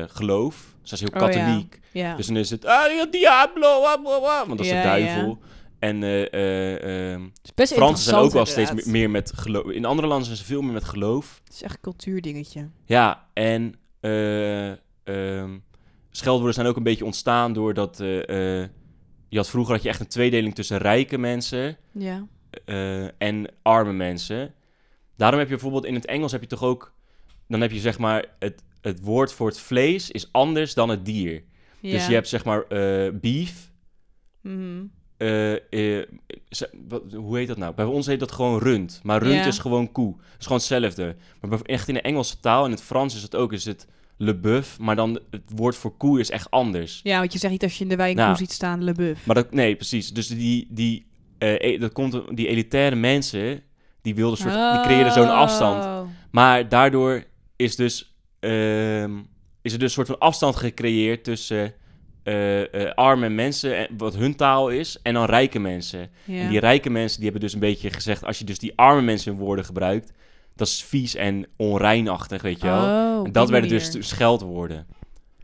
[SPEAKER 1] eh, geloof. Ze zijn heel
[SPEAKER 2] Oh, ja.
[SPEAKER 1] katholiek.
[SPEAKER 2] Ja.
[SPEAKER 1] Dus dan is het... Ah, ja, diablo, wa, wa, wa, want dat is
[SPEAKER 2] Ja,
[SPEAKER 1] de duivel. En eh eh, ehm,
[SPEAKER 2] Het is best
[SPEAKER 1] Fransen zijn ook wel
[SPEAKER 2] interessant
[SPEAKER 1] steeds me-
[SPEAKER 2] inderdaad.
[SPEAKER 1] meer met geloof. In andere landen zijn ze veel meer met geloof.
[SPEAKER 2] Het is echt een cultuurdingetje.
[SPEAKER 1] Ja, en eh, ehm, scheldwoorden zijn ook een beetje ontstaan doordat... eh, eh, je had vroeger had je echt een tweedeling tussen rijke mensen
[SPEAKER 2] Ja.
[SPEAKER 1] eh, en arme mensen. Daarom heb je bijvoorbeeld in het Engels heb je toch ook... Dan heb je zeg maar het, het woord voor het vlees is anders dan het dier. Dus je hebt zeg maar eh, beef.
[SPEAKER 2] Mhm.
[SPEAKER 1] eh, eh, ze- wat- hoe heet dat nou? Bij ons heet dat gewoon rund. Maar rund
[SPEAKER 2] Ja.
[SPEAKER 1] is gewoon koe. Het is gewoon hetzelfde. Maar bij- echt in de Engelse taal en het Frans is het ook. Is het le bœuf. Maar dan het woord voor koe is echt anders.
[SPEAKER 2] Ja, want je zegt niet als je in de wijn
[SPEAKER 1] Nou.
[SPEAKER 2] ziet staan, le buff.
[SPEAKER 1] Maar dat, nee, precies. Dus die, die,
[SPEAKER 2] Oh.
[SPEAKER 1] eh, e- dat komt, die elitaire mensen, die wilden soort, die creëerden zo'n afstand. Maar daardoor is dus ehm, is er dus een soort van afstand gecreëerd tussen eh, eh, arme mensen, en wat hun taal is, en dan rijke mensen. En
[SPEAKER 2] Ja.
[SPEAKER 1] die rijke mensen die hebben dus een beetje gezegd, als je dus die arme mensen hun woorden gebruikt, dat is vies en onreinachtig, weet je wel.
[SPEAKER 2] Oh, op
[SPEAKER 1] en dat
[SPEAKER 2] die
[SPEAKER 1] werden
[SPEAKER 2] manier.
[SPEAKER 1] dus scheldwoorden.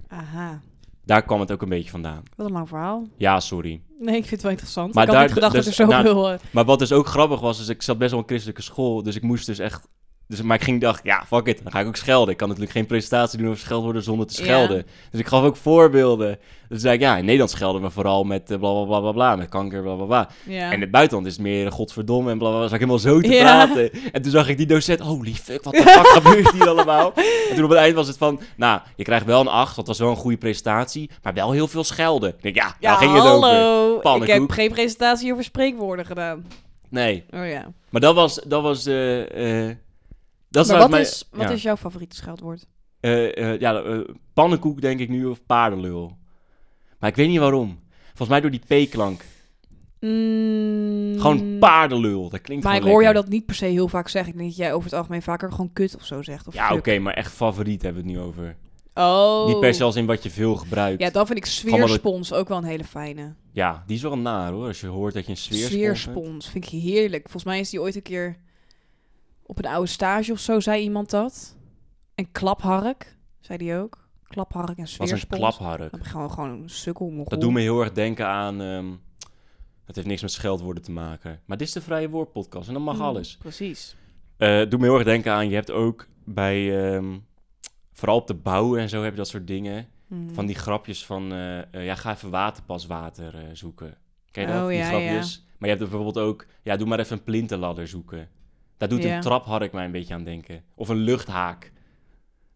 [SPEAKER 2] Aha,
[SPEAKER 1] Daar kwam het ook een beetje vandaan.
[SPEAKER 2] wat een lang verhaal.
[SPEAKER 1] Ja, sorry.
[SPEAKER 2] Nee, ik vind het wel interessant.
[SPEAKER 1] Maar
[SPEAKER 2] ik had
[SPEAKER 1] daar-
[SPEAKER 2] niet gedacht
[SPEAKER 1] dus-
[SPEAKER 2] dat er zoveel... eh,
[SPEAKER 1] Maar wat dus ook grappig was, is ik zat best wel in christelijke school, dus ik moest dus echt... Dus, maar ik ging dacht, ja, fuck it, dan ga ik ook schelden. Ik kan natuurlijk geen presentatie doen over scheldwoorden zonder te
[SPEAKER 2] Ja.
[SPEAKER 1] schelden. Dus ik gaf ook voorbeelden. Dus zei ik, ja, in Nederland schelden we vooral met eh, bla bla bla bla bla, met kanker, bla bla bla.
[SPEAKER 2] ja.
[SPEAKER 1] En in het buitenland is het meer eh, godverdomme en bla bla bla. Zag ik helemaal zo te
[SPEAKER 2] Ja.
[SPEAKER 1] praten. En toen zag ik die docent, holy fuck, wat de fuck gebeurt hier allemaal? En toen op het eind was het van, nou, je krijgt wel een 8, want dat was wel een goede presentatie, maar wel heel veel schelden. Ik denk, ja, daar ging het over.
[SPEAKER 2] hallo. Ik
[SPEAKER 1] Pannenkoek.
[SPEAKER 2] heb geen presentatie over spreekwoorden gedaan.
[SPEAKER 1] Nee,
[SPEAKER 2] Oh ja.
[SPEAKER 1] maar dat was, dat was, eh, eh, dat
[SPEAKER 2] maar
[SPEAKER 1] nou
[SPEAKER 2] wat,
[SPEAKER 1] mijn-
[SPEAKER 2] is, wat
[SPEAKER 1] ja.
[SPEAKER 2] is jouw favoriete scheldwoord?
[SPEAKER 1] Eh, eh, ja, eh, pannenkoek denk ik nu, of paardenlul. Maar ik weet niet waarom. Volgens mij door die P-klank.
[SPEAKER 2] Mm,
[SPEAKER 1] Gewoon paardenlul, dat klinkt
[SPEAKER 2] Maar ik
[SPEAKER 1] gewoon
[SPEAKER 2] hoor jou
[SPEAKER 1] lekker.
[SPEAKER 2] dat niet per se heel vaak zeggen. Ik denk dat jij over het algemeen vaker gewoon kut of zo zegt. Of
[SPEAKER 1] Ja, oké,
[SPEAKER 2] fuck.
[SPEAKER 1] maar echt favoriet hebben we het nu over.
[SPEAKER 2] Oh.
[SPEAKER 1] Niet per se als in wat je veel gebruikt.
[SPEAKER 2] Ja, dan vind ik
[SPEAKER 1] maar dat-
[SPEAKER 2] sfeerspons ook wel een hele fijne.
[SPEAKER 1] Ja, die is wel naar hoor. Als je hoort dat je een sfeerspons
[SPEAKER 2] Sfeerspons vind ik heerlijk. Volgens mij is die ooit een keer op een oude stage of zo, zei iemand dat. En klaphark, zei die ook. Klaphark en
[SPEAKER 1] was
[SPEAKER 2] sfeerspons.
[SPEAKER 1] een klaphark.
[SPEAKER 2] Dan ben je gewoon, gewoon een sukkel. Mongool.
[SPEAKER 1] Dat doet me heel erg denken aan... ehm, het heeft niks met scheldwoorden te maken. Maar dit is de Vrije Woord podcast en dan mag
[SPEAKER 2] Mm,
[SPEAKER 1] alles.
[SPEAKER 2] Precies.
[SPEAKER 1] Eh doet me heel erg denken aan... Je hebt ook bij... ehm, vooral op de bouw en zo heb je dat soort dingen.
[SPEAKER 2] Mm.
[SPEAKER 1] Van die grapjes van... eh, eh, ja, ga even waterpaswater eh, zoeken. Ken je dat?
[SPEAKER 2] Oh,
[SPEAKER 1] die
[SPEAKER 2] ja,
[SPEAKER 1] grapjes. Maar je hebt er bijvoorbeeld ook... Ja, doe maar even een plintenladder zoeken. Daar doet
[SPEAKER 2] Ja.
[SPEAKER 1] een traphark mij een beetje aan denken. Of een luchthaak.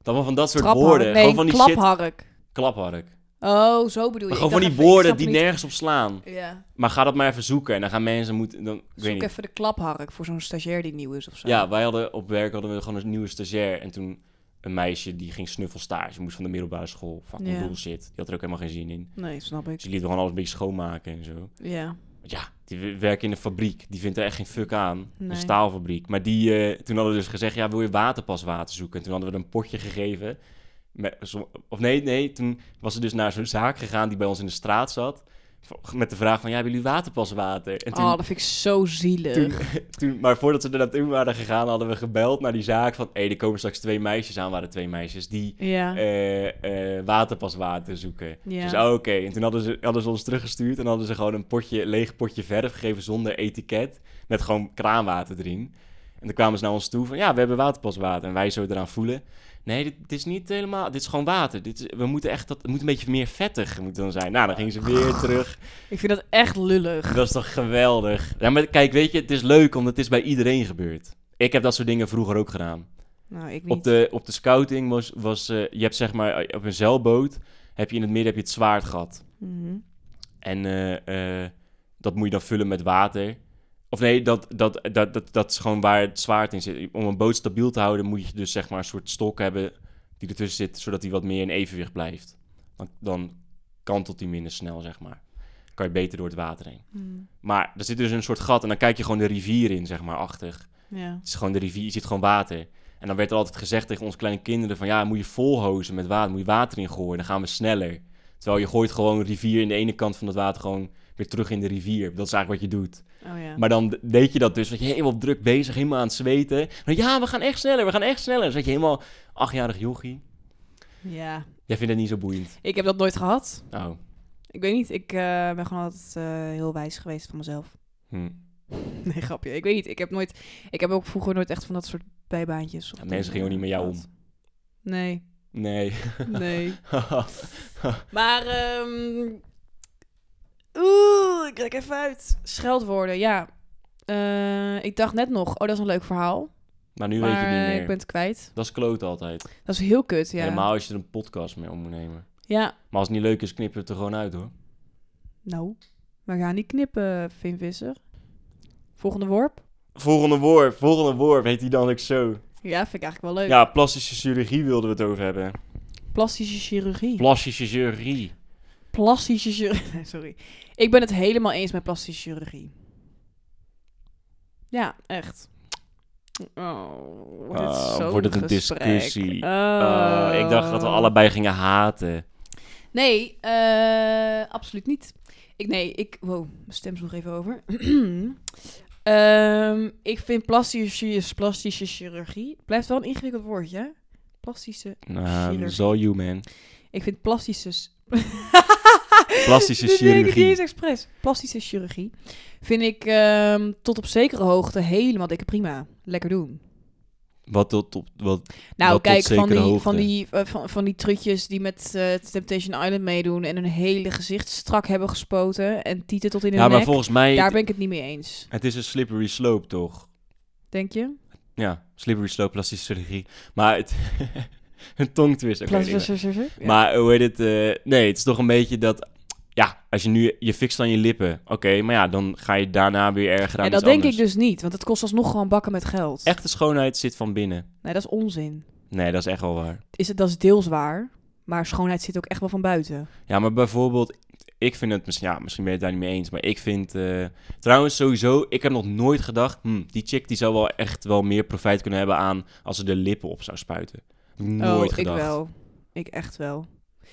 [SPEAKER 1] Dan wel van dat soort
[SPEAKER 2] Traphark.
[SPEAKER 1] woorden.
[SPEAKER 2] Nee,
[SPEAKER 1] Gewoon van die shit
[SPEAKER 2] klaphark.
[SPEAKER 1] klaphark.
[SPEAKER 2] Oh, zo bedoel
[SPEAKER 1] Maar
[SPEAKER 2] je.
[SPEAKER 1] gewoon van
[SPEAKER 2] Ik dacht
[SPEAKER 1] die
[SPEAKER 2] even, ik
[SPEAKER 1] woorden
[SPEAKER 2] snap
[SPEAKER 1] die
[SPEAKER 2] niet-
[SPEAKER 1] nergens op slaan.
[SPEAKER 2] Ja.
[SPEAKER 1] Maar ga dat maar even zoeken. En dan gaan mensen moeten... Dan, ik weet
[SPEAKER 2] Zoek
[SPEAKER 1] niet.
[SPEAKER 2] even de klaphark voor zo'n stagiair die nieuw is of zo.
[SPEAKER 1] Ja, wij hadden op werk hadden we gewoon een nieuwe stagiair. En toen een meisje die ging snuffelstage. Moest van de middelbare school. Fucking
[SPEAKER 2] Ja.
[SPEAKER 1] bullshit. Die had er ook helemaal geen zin in.
[SPEAKER 2] Nee, snap
[SPEAKER 1] Dus
[SPEAKER 2] ik.
[SPEAKER 1] die liet gewoon alles een beetje schoonmaken en zo.
[SPEAKER 2] Ja.
[SPEAKER 1] Want ja, die we- werken in een fabriek. Die vindt er echt geen fuck aan. Een
[SPEAKER 2] Nee.
[SPEAKER 1] staalfabriek. Maar die, eh, toen hadden we dus gezegd... Ja, wil je waterpaswater zoeken? En toen hadden we er een potje gegeven. Met, som- of nee, nee. Toen was ze dus naar zo'n zaak gegaan... die bij ons in de straat zat. v- Met de vraag van... Ja, hebben jullie waterpaswater? En toen,
[SPEAKER 2] Oh, dat vind ik zo zielig.
[SPEAKER 1] toen, toen, maar voordat ze er naartoe waren gegaan... hadden we gebeld naar die zaak van... Hé, er komen straks twee meisjes aan. waren twee meisjes die...
[SPEAKER 2] Ja.
[SPEAKER 1] eh, eh, waterpaswater zoeken.
[SPEAKER 2] Ja.
[SPEAKER 1] Dus oh, oké. En toen hadden ze, hadden ze ons teruggestuurd en hadden ze gewoon een potje, leeg potje verf gegeven zonder etiket. Met gewoon kraanwater erin. En toen kwamen ze naar ons toe van ja, we hebben waterpaswater. En wij zo eraan voelen. Nee, dit, dit is niet helemaal. Dit is gewoon water. Dit is, we moeten echt dat. Het moet een beetje meer vettig moeten dan zijn. Nou, dan gingen ze weer terug.
[SPEAKER 2] Ik vind dat echt lullig.
[SPEAKER 1] Dat is toch geweldig. Ja, maar kijk, weet je, het is leuk omdat het is bij iedereen gebeurd. Ik heb dat soort dingen vroeger ook gedaan.
[SPEAKER 2] Nou, ik niet.
[SPEAKER 1] Op de, op de scouting was, was eh, je hebt zeg maar eh, op een zeilboot heb je in het midden heb je het zwaard gehad.
[SPEAKER 2] Mhm.
[SPEAKER 1] En eh, eh, dat moet je dan vullen met water. Of nee, dat, dat, dat, dat, dat is gewoon waar het zwaard in zit. Om een boot stabiel te houden moet je dus zeg maar een soort stok hebben die ertussen zit, zodat die wat meer in evenwicht blijft. Dan, dan kantelt die minder snel, zeg maar. Kan je beter door het water heen.
[SPEAKER 2] Mm.
[SPEAKER 1] Maar er zit dus een soort gat en dan kijk je gewoon de rivier in, zeg maar, achtig.
[SPEAKER 2] Ja.
[SPEAKER 1] Het is gewoon de rivier, je ziet gewoon water. En dan werd er altijd gezegd tegen onze kleine kinderen van... ja, moet je volhozen met water, moet je water in gooien, dan gaan we sneller. Terwijl je gooit gewoon een rivier in de ene kant van het water gewoon weer terug in de rivier. Dat is eigenlijk wat je doet.
[SPEAKER 2] Oh ja.
[SPEAKER 1] Maar dan d- deed je dat dus, dat je helemaal druk bezig, helemaal aan het zweten. Dan, ja, we gaan echt sneller, we gaan echt sneller. Dan zat je helemaal achtjarig jochie.
[SPEAKER 2] Ja.
[SPEAKER 1] Jij vindt het niet zo boeiend.
[SPEAKER 2] Ik heb dat nooit gehad.
[SPEAKER 1] Oh,
[SPEAKER 2] Ik weet niet. Ik eh, ben gewoon altijd eh, heel wijs geweest van mezelf.
[SPEAKER 1] hm.
[SPEAKER 2] Nee, grapje. Ik weet niet. Ik heb nooit. Ik heb ook vroeger nooit echt van dat soort bijbaantjes. of
[SPEAKER 1] Ja, mensen
[SPEAKER 2] dingen
[SPEAKER 1] gingen ook niet met jou
[SPEAKER 2] gehad. Nee.
[SPEAKER 1] nee.
[SPEAKER 2] Nee. maar. ehm Oeh, ik kijk even uit. Scheldwoorden, ja. Eh, ik dacht net nog, oh, dat is een leuk verhaal.
[SPEAKER 1] maar nu weet je
[SPEAKER 2] maar
[SPEAKER 1] het niet
[SPEAKER 2] eh,
[SPEAKER 1] meer.
[SPEAKER 2] ik ben het kwijt.
[SPEAKER 1] Dat is kloot altijd.
[SPEAKER 2] Dat is heel kut, ja.
[SPEAKER 1] Helemaal als je er een podcast mee om moet nemen.
[SPEAKER 2] Ja,
[SPEAKER 1] Maar als het niet leuk is, knippen we het er gewoon uit hoor.
[SPEAKER 2] nou. We gaan niet knippen, Vin Visser. Volgende worp.
[SPEAKER 1] Volgende woord, volgende woord heet die dan ook zo.
[SPEAKER 2] Ja, vind ik eigenlijk wel leuk.
[SPEAKER 1] Ja, plastische chirurgie wilden we het over hebben.
[SPEAKER 2] Plastische chirurgie.
[SPEAKER 1] Plastische chirurgie.
[SPEAKER 2] plastische chirurgie. Sorry. Ik ben het helemaal eens met plastische chirurgie. Ja, echt. Oh, wordt het
[SPEAKER 1] Oh,
[SPEAKER 2] zo'n
[SPEAKER 1] wordt het een
[SPEAKER 2] gesprek.
[SPEAKER 1] discussie.
[SPEAKER 2] Oh.
[SPEAKER 1] Oh, ik dacht dat we allebei gingen haten.
[SPEAKER 2] Nee, eh, absoluut niet. Ik, nee, ik... Wow, mijn stem sloeg even over. Ehm, ik vind plastische, plastische chirurgie... Blijft wel een ingewikkeld woordje, hè? Plastische...
[SPEAKER 1] Nou,
[SPEAKER 2] Chirurgie.
[SPEAKER 1] it's all you, man.
[SPEAKER 2] Ik vind plastische... s-
[SPEAKER 1] Plastische
[SPEAKER 2] Dit weet ik niet
[SPEAKER 1] chirurgie.
[SPEAKER 2] eens expres. Plastische chirurgie vind ik ehm, tot op zekere hoogte helemaal dikke prima. Lekker doen.
[SPEAKER 1] Wat tot op... Wat,
[SPEAKER 2] Nou,
[SPEAKER 1] Wat tot
[SPEAKER 2] kijk, van
[SPEAKER 1] zekere
[SPEAKER 2] die,
[SPEAKER 1] hoogte.
[SPEAKER 2] van, die, eh, van, van die trutjes die met eh, Temptation Island meedoen... en hun hele gezicht strak hebben gespoten... en tieten tot in hun
[SPEAKER 1] ja, maar
[SPEAKER 2] nek.
[SPEAKER 1] volgens mij...
[SPEAKER 2] Daar ben ik het niet mee eens.
[SPEAKER 1] Het is een slippery slope, toch?
[SPEAKER 2] Denk je?
[SPEAKER 1] Ja, slippery slope, plastische chirurgie. Maar het... een tongtwist. oké, nee, maar- Maar hoe heet het? eh, nee, het is toch een beetje dat... Ja, als je nu... Je fixt dan je lippen. Oké, maar ja, dan ga je daarna weer erger aan
[SPEAKER 2] ja,
[SPEAKER 1] iets
[SPEAKER 2] dat denk
[SPEAKER 1] anders.
[SPEAKER 2] ik dus niet, want het kost alsnog gewoon bakken met geld.
[SPEAKER 1] Echte schoonheid zit van binnen.
[SPEAKER 2] Nee, dat is onzin.
[SPEAKER 1] Nee, dat is echt wel waar.
[SPEAKER 2] Is het, dat is deels waar, maar schoonheid zit ook echt wel van buiten.
[SPEAKER 1] Ja, maar bijvoorbeeld, ik vind het misschien, ja, misschien ben je het daar niet mee eens, maar ik vind, eh, trouwens sowieso, ik heb nog nooit gedacht, hm, die chick die zou wel echt wel meer profijt kunnen hebben aan als ze de lippen op zou spuiten. Nooit
[SPEAKER 2] oh,
[SPEAKER 1] gedacht.
[SPEAKER 2] ik wel. Ik echt wel.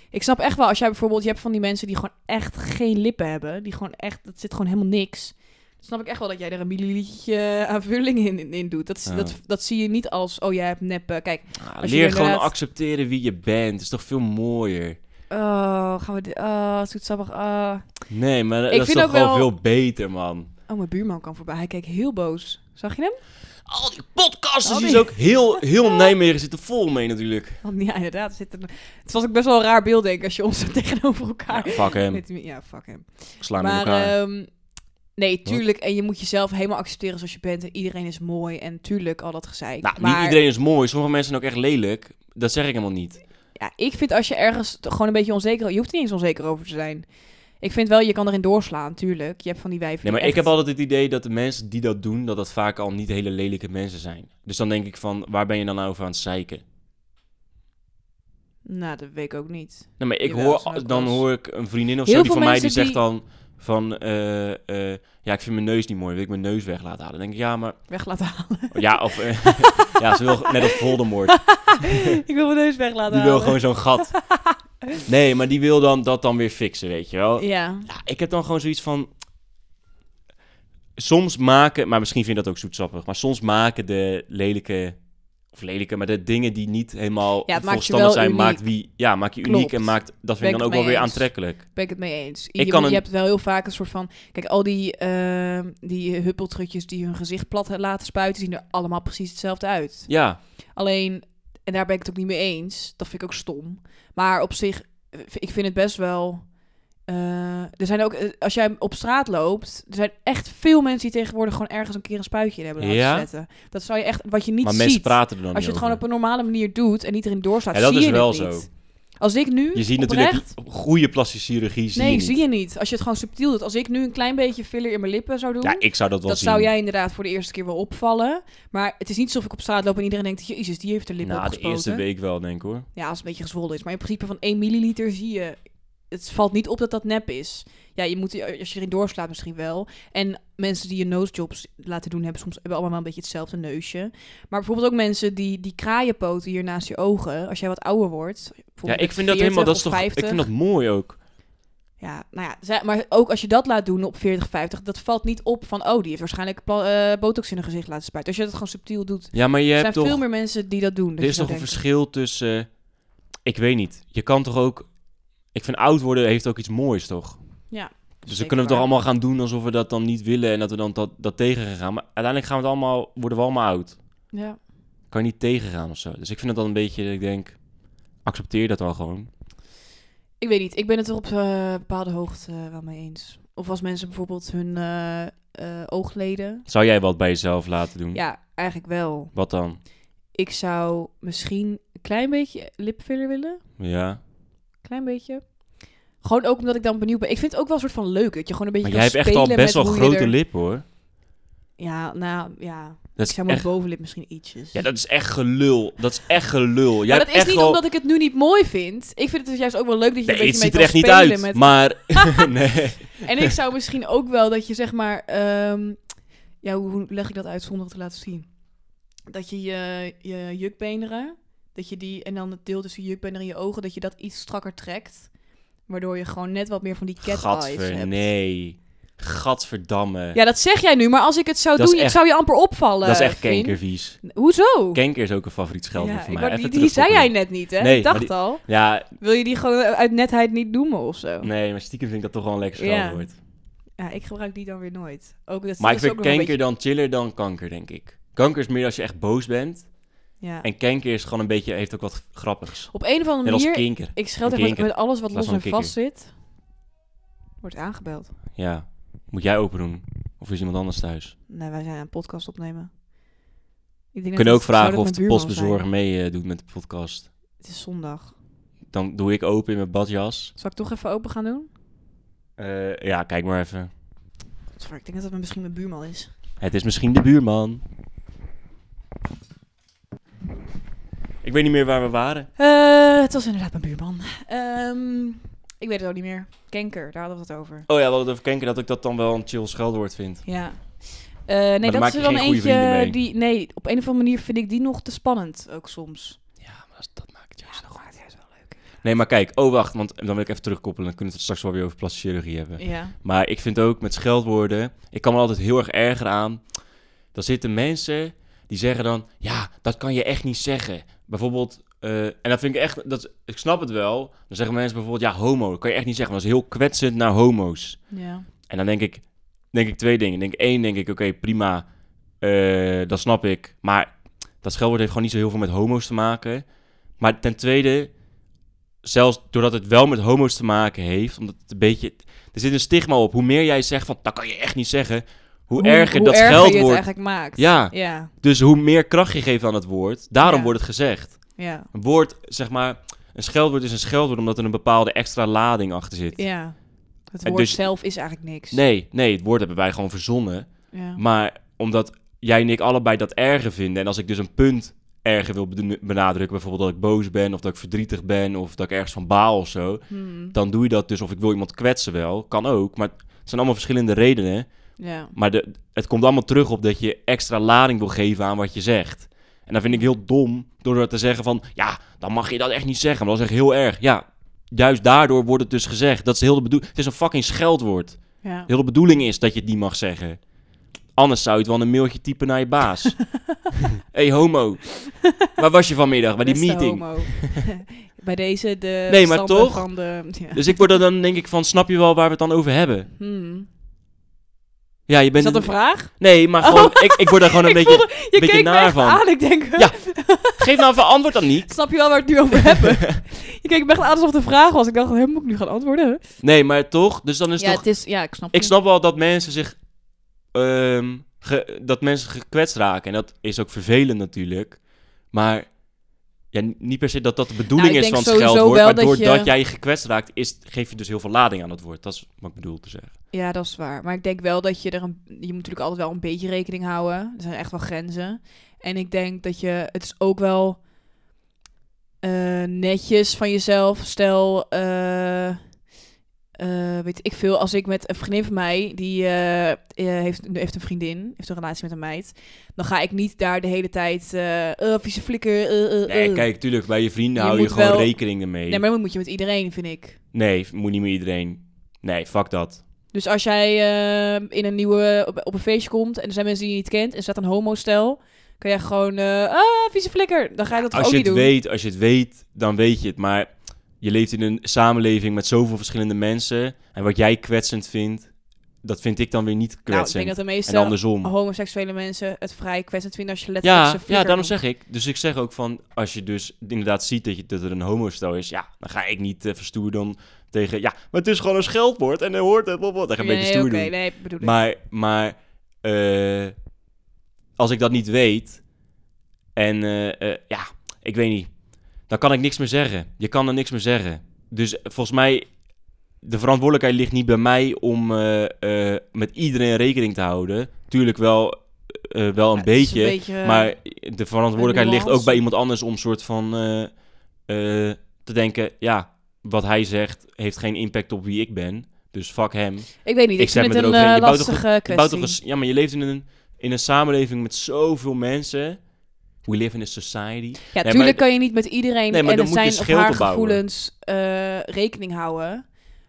[SPEAKER 2] Ik snap echt wel, als jij bijvoorbeeld, je hebt van die mensen die gewoon echt geen lippen hebben, die gewoon echt, dat zit gewoon helemaal niks. Dan snap ik echt wel dat jij er een millilitertje aanvulling in, in, in doet. Dat, is-
[SPEAKER 1] Ja.
[SPEAKER 2] dat, dat zie je niet als, oh jij hebt neppen. Kijk,
[SPEAKER 1] Ah,
[SPEAKER 2] Als je
[SPEAKER 1] leer gewoon
[SPEAKER 2] inderdaad-
[SPEAKER 1] accepteren wie je bent, is toch veel mooier.
[SPEAKER 2] oh, gaan we, dit- oh, zoetsappig, oh.
[SPEAKER 1] Nee, maar dat
[SPEAKER 2] Ik
[SPEAKER 1] is
[SPEAKER 2] vind
[SPEAKER 1] toch
[SPEAKER 2] ook
[SPEAKER 1] gewoon
[SPEAKER 2] wel-
[SPEAKER 1] veel beter, man.
[SPEAKER 2] Oh, mijn buurman kwam voorbij. Hij keek heel boos. Zag je hem?
[SPEAKER 1] Al die podcasters,
[SPEAKER 2] Al
[SPEAKER 1] die
[SPEAKER 2] die-
[SPEAKER 1] is ook heel, heel Nijmegen zit er vol mee natuurlijk.
[SPEAKER 2] Want ja, inderdaad. er Zit er... Het was ook best wel een raar beeld, denk ik, als je ons zo tegenover elkaar...
[SPEAKER 1] Ja, fuck hem,
[SPEAKER 2] Met- ja, fuck hem.
[SPEAKER 1] slaan met
[SPEAKER 2] maar
[SPEAKER 1] elkaar.
[SPEAKER 2] ehm, nee, tuurlijk. En je moet jezelf helemaal accepteren zoals je bent. En iedereen is mooi. En tuurlijk al dat gezeik.
[SPEAKER 1] nou,
[SPEAKER 2] maar
[SPEAKER 1] niet iedereen is mooi, sommige mensen zijn ook echt lelijk. Dat zeg ik helemaal niet.
[SPEAKER 2] ja, ik vind als je ergens t- gewoon een beetje onzeker... Je hoeft er niet eens onzeker over te zijn. Ik vind wel, je kan erin doorslaan, tuurlijk. Je hebt van die wijven
[SPEAKER 1] Nee, maar
[SPEAKER 2] die
[SPEAKER 1] ik heb
[SPEAKER 2] echt-
[SPEAKER 1] altijd het idee dat de mensen die dat doen, dat dat vaak al niet hele lelijke mensen zijn. Dus dan denk ik van, waar ben je dan nou over aan het zeiken?
[SPEAKER 2] Nou, dat weet ik ook niet.
[SPEAKER 1] Nee, maar ik
[SPEAKER 2] Jawel,
[SPEAKER 1] hoor,
[SPEAKER 2] snap ik
[SPEAKER 1] dan
[SPEAKER 2] wel.
[SPEAKER 1] hoor ik een vriendin of
[SPEAKER 2] Heel
[SPEAKER 1] zo die
[SPEAKER 2] veel
[SPEAKER 1] van mij die
[SPEAKER 2] mensen
[SPEAKER 1] zegt
[SPEAKER 2] die-
[SPEAKER 1] dan van, eh, eh, ja, ik vind mijn neus niet mooi, wil ik mijn neus weg laten halen? Dan denk ik, ja, maar,
[SPEAKER 2] Weg laten halen.
[SPEAKER 1] ja, of, eh, ja, ze wil net als Voldemort,
[SPEAKER 2] ik wil mijn neus weg laten
[SPEAKER 1] die wil
[SPEAKER 2] halen.
[SPEAKER 1] gewoon zo'n gat. Nee, maar die wil dan dat dan weer fixen, weet je wel.
[SPEAKER 2] Ja.
[SPEAKER 1] Ja, ik heb dan gewoon zoiets van. Soms maken, maar misschien vind je dat ook zoetsappig, maar soms maken de lelijke, of lelijke, maar de dingen die niet helemaal
[SPEAKER 2] maakt je
[SPEAKER 1] volstandig
[SPEAKER 2] wel
[SPEAKER 1] zijn,
[SPEAKER 2] uniek.
[SPEAKER 1] maakt wie, ja, maakt je uniek
[SPEAKER 2] Klopt.
[SPEAKER 1] en maakt, dat
[SPEAKER 2] Ben
[SPEAKER 1] vind
[SPEAKER 2] ik
[SPEAKER 1] ik dan ook
[SPEAKER 2] het
[SPEAKER 1] wel
[SPEAKER 2] mee
[SPEAKER 1] weer
[SPEAKER 2] eens.
[SPEAKER 1] aantrekkelijk.
[SPEAKER 2] ben ik het mee eens. Je,
[SPEAKER 1] Ik kan
[SPEAKER 2] je
[SPEAKER 1] een-
[SPEAKER 2] hebt wel heel vaak een soort van... Kijk, al die, ehm die huppeltrutjes die hun gezicht plat laten spuiten... zien er allemaal precies hetzelfde uit.
[SPEAKER 1] Ja,
[SPEAKER 2] Alleen, en daar ben ik het ook niet mee eens. Dat vind ik ook stom. Maar op zich, eh, ik vind het best wel... eh, er zijn ook, eh, als jij op straat loopt, er zijn echt veel mensen die tegenwoordig gewoon ergens een keer een spuitje in hebben laten
[SPEAKER 1] Ja?
[SPEAKER 2] zetten. Dat zou je echt, wat je niet
[SPEAKER 1] maar
[SPEAKER 2] ziet.
[SPEAKER 1] mensen praten er dan
[SPEAKER 2] als je
[SPEAKER 1] niet
[SPEAKER 2] het gewoon op
[SPEAKER 1] over.
[SPEAKER 2] een normale manier doet en niet erin doorstaat,
[SPEAKER 1] Ja, dat
[SPEAKER 2] zie
[SPEAKER 1] is
[SPEAKER 2] je
[SPEAKER 1] wel
[SPEAKER 2] het niet.
[SPEAKER 1] zo.
[SPEAKER 2] Als ik nu,
[SPEAKER 1] Je ziet
[SPEAKER 2] oprecht,
[SPEAKER 1] natuurlijk goede plastische chirurgie, zie
[SPEAKER 2] nee,
[SPEAKER 1] je niet.
[SPEAKER 2] zie je niet. Als je het gewoon subtiel doet. Als ik nu een klein beetje filler in mijn lippen zou doen...
[SPEAKER 1] Ja, ik zou dat wel
[SPEAKER 2] dat
[SPEAKER 1] zien.
[SPEAKER 2] zou jij inderdaad voor de eerste keer wel opvallen. Maar het is niet alsof ik op straat loop en iedereen denkt... Jezus, die heeft de lippen
[SPEAKER 1] Na Nou, de
[SPEAKER 2] opgespoten.
[SPEAKER 1] eerste week wel, denk ik hoor.
[SPEAKER 2] Ja, als het een beetje gezwollen is. Maar in principe van 1 milliliter zie je... Het valt niet op dat dat nep is. Ja, je moet, als je erin doorslaat misschien wel. En mensen die je nosejobs laten doen... hebben soms hebben allemaal wel een beetje hetzelfde neusje. Maar bijvoorbeeld ook mensen die, die kraaienpoten hier naast je ogen... als jij wat ouder wordt...
[SPEAKER 1] Ja,
[SPEAKER 2] bijvoorbeeld
[SPEAKER 1] ik vind dat
[SPEAKER 2] 40
[SPEAKER 1] helemaal, dat is
[SPEAKER 2] of
[SPEAKER 1] toch,
[SPEAKER 2] 50.
[SPEAKER 1] ik vind dat mooi ook.
[SPEAKER 2] Ja, nou ja, zij- maar ook als je dat laat doen op 40, 50, dat valt niet op van, oh, die heeft waarschijnlijk pla- eh, botox in haar gezicht laten spuiten. Als je dat gewoon subtiel doet,
[SPEAKER 1] Ja, maar je
[SPEAKER 2] er
[SPEAKER 1] hebt
[SPEAKER 2] zijn
[SPEAKER 1] toch...
[SPEAKER 2] veel meer mensen die dat doen. dat
[SPEAKER 1] Er
[SPEAKER 2] je
[SPEAKER 1] is
[SPEAKER 2] zou
[SPEAKER 1] toch een
[SPEAKER 2] denken.
[SPEAKER 1] verschil tussen. eh, Ik weet niet. Je kan toch ook. Ik vind oud worden heeft ook iets moois, toch?
[SPEAKER 2] Ja,
[SPEAKER 1] Dus dan
[SPEAKER 2] zeker
[SPEAKER 1] kunnen we toch
[SPEAKER 2] waar.
[SPEAKER 1] allemaal gaan doen alsof we dat dan niet willen en dat we dan dat, dat tegen gaan. Maar uiteindelijk gaan we het allemaal, worden we allemaal oud.
[SPEAKER 2] Ja.
[SPEAKER 1] Kan je niet tegengaan of zo. Dus ik vind het dan een beetje dat ik denk, accepteer dat dan gewoon.
[SPEAKER 2] Ik weet niet, ik ben het er op eh, bepaalde hoogte eh, wel mee eens. Of als mensen bijvoorbeeld hun eh, eh, oogleden...
[SPEAKER 1] Zou jij wat bij jezelf laten doen?
[SPEAKER 2] Ja, eigenlijk wel.
[SPEAKER 1] Wat dan?
[SPEAKER 2] Ik zou misschien een klein beetje lipfiller willen.
[SPEAKER 1] Ja.
[SPEAKER 2] Klein beetje. Gewoon ook omdat ik dan benieuwd ben. Ik vind het ook wel een soort van leuk. Dat je gewoon een beetje
[SPEAKER 1] Maar jij hebt
[SPEAKER 2] kan
[SPEAKER 1] echt al
[SPEAKER 2] spelen
[SPEAKER 1] best wel
[SPEAKER 2] met hoe je
[SPEAKER 1] grote
[SPEAKER 2] er-
[SPEAKER 1] lippen hoor.
[SPEAKER 2] Ja, nou ja.
[SPEAKER 1] Dat
[SPEAKER 2] ik
[SPEAKER 1] is
[SPEAKER 2] zou mijn
[SPEAKER 1] echt,
[SPEAKER 2] bovenlip misschien ietsjes.
[SPEAKER 1] ja, dat is echt gelul. Dat is echt gelul. Jij
[SPEAKER 2] maar
[SPEAKER 1] hebt
[SPEAKER 2] dat is
[SPEAKER 1] echt
[SPEAKER 2] niet
[SPEAKER 1] al-
[SPEAKER 2] omdat ik het nu niet mooi vind. Ik vind het dus juist ook wel leuk dat je er
[SPEAKER 1] Nee,
[SPEAKER 2] een
[SPEAKER 1] het
[SPEAKER 2] beetje
[SPEAKER 1] ziet er
[SPEAKER 2] mee
[SPEAKER 1] echt niet
[SPEAKER 2] kan spelen
[SPEAKER 1] uit. Maar.
[SPEAKER 2] met...
[SPEAKER 1] nee.
[SPEAKER 2] En ik zou misschien ook wel dat je zeg maar... ehm, ja, hoe, hoe leg ik dat uit zonder het te laten zien? dat je je, je jukbeenderen, dat je die, en dan het deel tussen je jukbeenderen en je ogen, dat je dat iets strakker trekt. Waardoor je gewoon net wat meer van die cat eyes
[SPEAKER 1] Gadver,
[SPEAKER 2] hebt.
[SPEAKER 1] nee. Gadverdamme.
[SPEAKER 2] Ja, dat zeg jij nu, maar als ik het zou
[SPEAKER 1] Dat is
[SPEAKER 2] doen, ik
[SPEAKER 1] echt-
[SPEAKER 2] zou je amper opvallen.
[SPEAKER 1] dat is echt
[SPEAKER 2] Fien.
[SPEAKER 1] kenkervies.
[SPEAKER 2] Hoezo?
[SPEAKER 1] Kenker is ook een favoriet scheldwoord
[SPEAKER 2] Ja,
[SPEAKER 1] van
[SPEAKER 2] ik
[SPEAKER 1] mij.
[SPEAKER 2] wou-
[SPEAKER 1] Even
[SPEAKER 2] die die zei jij
[SPEAKER 1] terugkoppelen.
[SPEAKER 2] net niet, hè?
[SPEAKER 1] Nee,
[SPEAKER 2] ik dacht
[SPEAKER 1] maar die-
[SPEAKER 2] al.
[SPEAKER 1] Ja,
[SPEAKER 2] Wil je die gewoon uit netheid niet noemen of zo?
[SPEAKER 1] nee, maar stiekem vind ik dat toch wel een lekker
[SPEAKER 2] Ja.
[SPEAKER 1] scheldwoord.
[SPEAKER 2] Ja, ik gebruik die dan weer nooit.
[SPEAKER 1] Maar
[SPEAKER 2] Ook, dat, dat
[SPEAKER 1] ik
[SPEAKER 2] is dus
[SPEAKER 1] vind
[SPEAKER 2] ook nog een
[SPEAKER 1] kanker dan chiller dan kanker, denk ik. Kanker is meer als je echt boos bent.
[SPEAKER 2] beetje- ja.
[SPEAKER 1] En kanker is gewoon een beetje, heeft ook wat grappigs.
[SPEAKER 2] Op een of andere
[SPEAKER 1] Net als
[SPEAKER 2] manier,
[SPEAKER 1] kinker.
[SPEAKER 2] ik scheld
[SPEAKER 1] een
[SPEAKER 2] echt met,
[SPEAKER 1] kinker.
[SPEAKER 2] met alles wat
[SPEAKER 1] In
[SPEAKER 2] los
[SPEAKER 1] plaats
[SPEAKER 2] en
[SPEAKER 1] van een
[SPEAKER 2] vast zit. Wordt aangebeld.
[SPEAKER 1] Ja. Moet jij open doen? Of is iemand anders thuis?
[SPEAKER 2] Nee, wij zijn aan een podcast opnemen. Ik denk
[SPEAKER 1] We kunnen
[SPEAKER 2] dat-
[SPEAKER 1] ook vragen
[SPEAKER 2] zou
[SPEAKER 1] of
[SPEAKER 2] dat
[SPEAKER 1] de
[SPEAKER 2] mijn buurman zijn?
[SPEAKER 1] postbezorger mee eh, doet met de podcast.
[SPEAKER 2] Het is zondag.
[SPEAKER 1] Dan doe ik open in mijn badjas.
[SPEAKER 2] Zal ik toch even open gaan doen?
[SPEAKER 1] Eh, ja, kijk maar even.
[SPEAKER 2] Sorry, ik denk dat dat misschien mijn buurman is.
[SPEAKER 1] Het is misschien de buurman. Ik weet niet meer waar we waren.
[SPEAKER 2] Eh, het was inderdaad mijn buurman. Ehm, ik weet het ook niet meer. Kanker, daar hadden we het over.
[SPEAKER 1] Oh ja, we hadden het over kanker dat ik dat dan wel een chill scheldwoord vind.
[SPEAKER 2] Ja. Eh, nee,
[SPEAKER 1] dan
[SPEAKER 2] dat
[SPEAKER 1] maak
[SPEAKER 2] is er
[SPEAKER 1] je
[SPEAKER 2] dan
[SPEAKER 1] geen goede vrienden
[SPEAKER 2] eentje
[SPEAKER 1] mee.
[SPEAKER 2] die... Nee, op een of andere manier vind ik die nog te spannend ook soms.
[SPEAKER 1] Ja, maar dat, dat maakt het juist nog
[SPEAKER 2] dat is wel leuk.
[SPEAKER 1] Nee, maar kijk. Oh, wacht. Want dan wil ik even terugkoppelen. Dan kunnen we het straks wel weer over plastische chirurgie hebben.
[SPEAKER 2] Ja.
[SPEAKER 1] Maar ik vind ook met scheldwoorden, ik kan me altijd heel erg erger aan. Dan zitten mensen die zeggen dan, ja, dat kan je echt niet zeggen. Bijvoorbeeld, eh, en dat vind ik echt, dat, is- ik snap het wel. Dan zeggen mensen bijvoorbeeld, ja, homo, dat kan je echt niet zeggen. want Dat is heel kwetsend naar homo's.
[SPEAKER 2] Ja.
[SPEAKER 1] En dan denk ik, denk ik twee dingen. Denk één, denk ik, oké, prima, eh, dat snap ik. Maar dat scheldwoord heeft gewoon niet zo heel veel met homo's te maken. Maar ten tweede, zelfs doordat het wel met homo's te maken heeft, omdat het een beetje, er zit een stigma op. Hoe meer jij zegt van, dat kan je echt niet zeggen, hoe, erger dat
[SPEAKER 2] je het
[SPEAKER 1] scheldwoord.
[SPEAKER 2] eigenlijk maakt.
[SPEAKER 1] Ja.
[SPEAKER 2] Ja.
[SPEAKER 1] Dus hoe meer kracht je geeft aan het woord, daarom
[SPEAKER 2] Ja.
[SPEAKER 1] wordt het gezegd.
[SPEAKER 2] Ja.
[SPEAKER 1] Een woord, zeg maar, een scheldwoord is een scheldwoord omdat er een bepaalde extra lading achter zit.
[SPEAKER 2] Ja. Het
[SPEAKER 1] En
[SPEAKER 2] woord
[SPEAKER 1] dus-
[SPEAKER 2] zelf is eigenlijk niks.
[SPEAKER 1] Nee, nee, het woord hebben wij gewoon verzonnen.
[SPEAKER 2] Ja.
[SPEAKER 1] Maar omdat jij en ik allebei dat erger vinden. En als ik dus een punt erger wil benu- benadrukken. Bijvoorbeeld dat ik boos ben. Of dat ik verdrietig ben. Of dat ik ergens van baal of zo.
[SPEAKER 2] Hmm.
[SPEAKER 1] Dan doe je dat dus. Of ik wil iemand kwetsen wel. Kan ook. Maar het zijn allemaal verschillende redenen.
[SPEAKER 2] Ja.
[SPEAKER 1] Maar de, het komt allemaal terug op dat je extra lading wil geven aan wat je zegt. En dat vind ik heel dom. Door dat te zeggen van. Ja, dan mag je dat echt niet zeggen. Maar dat is echt heel erg. Ja. Juist daardoor wordt het dus gezegd. Dat is heel de bedoeling. Het is een fucking scheldwoord.
[SPEAKER 2] Ja.
[SPEAKER 1] De hele bedoeling is dat je het niet mag zeggen. Anders zou je het wel een mailtje typen naar je baas. hey, homo. Waar was je vanmiddag bij die
[SPEAKER 2] Beste
[SPEAKER 1] meeting?
[SPEAKER 2] homo. bij deze de
[SPEAKER 1] Nee, maar
[SPEAKER 2] standen
[SPEAKER 1] toch?
[SPEAKER 2] van de... Ja.
[SPEAKER 1] Dus ik word er dan denk ik van, snap je wel waar we het dan over hebben?
[SPEAKER 2] Hmm.
[SPEAKER 1] Ja, je
[SPEAKER 2] Is
[SPEAKER 1] bent...
[SPEAKER 2] dat een vraag? Oh.
[SPEAKER 1] Nee, maar gewoon, ik, ik word er gewoon een
[SPEAKER 2] Ik
[SPEAKER 1] beetje...
[SPEAKER 2] voelde- je
[SPEAKER 1] beetje
[SPEAKER 2] keek me
[SPEAKER 1] naar
[SPEAKER 2] echt
[SPEAKER 1] van.
[SPEAKER 2] aan, ik denk...
[SPEAKER 1] Ja. Geef nou even antwoord dan niet.
[SPEAKER 2] Snap je wel waar we het nu over hebben? je keek me echt aan alsof het een vraag was. Ik dacht, hè, moet ik nu gaan antwoorden?
[SPEAKER 1] Nee, maar toch, dus dan is toch...
[SPEAKER 2] is, ja, ik snap
[SPEAKER 1] Ik snap wel dat mensen zich... ehm, ge- dat mensen gekwetst raken. En dat is ook vervelend natuurlijk. Maar ja, n- niet per se dat dat de bedoeling
[SPEAKER 2] Nou, ik
[SPEAKER 1] is van
[SPEAKER 2] denk
[SPEAKER 1] het
[SPEAKER 2] sowieso
[SPEAKER 1] scheldwoord.
[SPEAKER 2] wel
[SPEAKER 1] Maar
[SPEAKER 2] dat
[SPEAKER 1] doordat
[SPEAKER 2] je-
[SPEAKER 1] jij je gekwetst raakt, is, geef je dus heel veel lading aan dat woord. Dat is wat ik bedoel te zeggen.
[SPEAKER 2] Ja, dat is waar. Maar ik denk wel dat je er een... Je moet natuurlijk altijd wel een beetje rekening houden. Er zijn echt wel grenzen. En ik denk dat je... Het is ook wel eh, netjes van jezelf. Stel... eh, eh, weet ik veel, als ik met een vriendin van mij, die eh, eh, heeft, heeft een vriendin, heeft een relatie met een meid, dan ga ik niet daar de hele tijd, eh oh, vieze flikker, eh, eh,
[SPEAKER 1] Nee,
[SPEAKER 2] eh.
[SPEAKER 1] kijk, tuurlijk, bij je vrienden
[SPEAKER 2] Je
[SPEAKER 1] hou je
[SPEAKER 2] moet
[SPEAKER 1] gewoon
[SPEAKER 2] wel-
[SPEAKER 1] rekening mee.
[SPEAKER 2] Nee, maar dat moet je met iedereen, vind ik.
[SPEAKER 1] Nee, moet niet meer iedereen. Nee, fuck dat.
[SPEAKER 2] Dus als jij eh, in een nieuwe, op, op een feestje komt en er zijn mensen die je niet kent en er staat een homostel, kan jij gewoon, eh, ah, vieze flikker. Dan ga je dat toch
[SPEAKER 1] Als
[SPEAKER 2] ook
[SPEAKER 1] je
[SPEAKER 2] niet
[SPEAKER 1] het
[SPEAKER 2] doen.
[SPEAKER 1] weet, als je het weet, dan weet je het. Maar je leeft in een samenleving met zoveel verschillende mensen. En wat jij kwetsend vindt, dat vind ik dan weer niet
[SPEAKER 2] nou, ik
[SPEAKER 1] kwetsend.
[SPEAKER 2] denk dat de
[SPEAKER 1] en
[SPEAKER 2] meeste
[SPEAKER 1] andersom.
[SPEAKER 2] homoseksuele mensen het vrij kwetsend vinden als je letterlijk
[SPEAKER 1] Ja,
[SPEAKER 2] ze flikker
[SPEAKER 1] ja, daarom
[SPEAKER 2] noemt.
[SPEAKER 1] zeg ik. Dus ik zeg ook van, als je dus inderdaad ziet dat, je, dat er een homostel is, ja, dan ga ik niet eh, verstoer dan tegen, ja, maar het is gewoon een scheldwoord en hij hoort het, blablabla. Dan ga ik een beetje
[SPEAKER 2] nee,
[SPEAKER 1] stoer
[SPEAKER 2] oké,
[SPEAKER 1] doen.
[SPEAKER 2] nee, bedoel ik.
[SPEAKER 1] Maar, maar eh, als ik dat niet weet, en eh, eh, ja, ik weet niet, dan kan ik niks meer zeggen. Je kan er niks meer zeggen. Dus eh, volgens mij, de verantwoordelijkheid ligt niet bij mij om eh, eh, met iedereen rekening te houden. Tuurlijk wel, eh, wel een
[SPEAKER 2] Ja, het is
[SPEAKER 1] beetje,
[SPEAKER 2] eh,
[SPEAKER 1] maar de verantwoordelijkheid ligt ook
[SPEAKER 2] nuance.
[SPEAKER 1] bij iemand anders om soort van eh, eh, te denken, ja, wat hij zegt heeft geen impact op wie ik ben. Dus fuck hem.
[SPEAKER 2] ik weet niet, ik,
[SPEAKER 1] ik zet
[SPEAKER 2] vind
[SPEAKER 1] me
[SPEAKER 2] het een
[SPEAKER 1] eroverheen.
[SPEAKER 2] eh,
[SPEAKER 1] Je bouwt toch
[SPEAKER 2] lastige
[SPEAKER 1] Je bouwt toch
[SPEAKER 2] kwestie.
[SPEAKER 1] een s- ja, maar je leeft in een, in een samenleving met zoveel mensen. We live in a society.
[SPEAKER 2] Ja,
[SPEAKER 1] maar-
[SPEAKER 2] tuurlijk kan je niet met iedereen
[SPEAKER 1] Nee, maar
[SPEAKER 2] en
[SPEAKER 1] dan
[SPEAKER 2] het
[SPEAKER 1] moet je
[SPEAKER 2] zijn of
[SPEAKER 1] schild
[SPEAKER 2] haar
[SPEAKER 1] opbouwen.
[SPEAKER 2] gevoelens eh, rekening houden.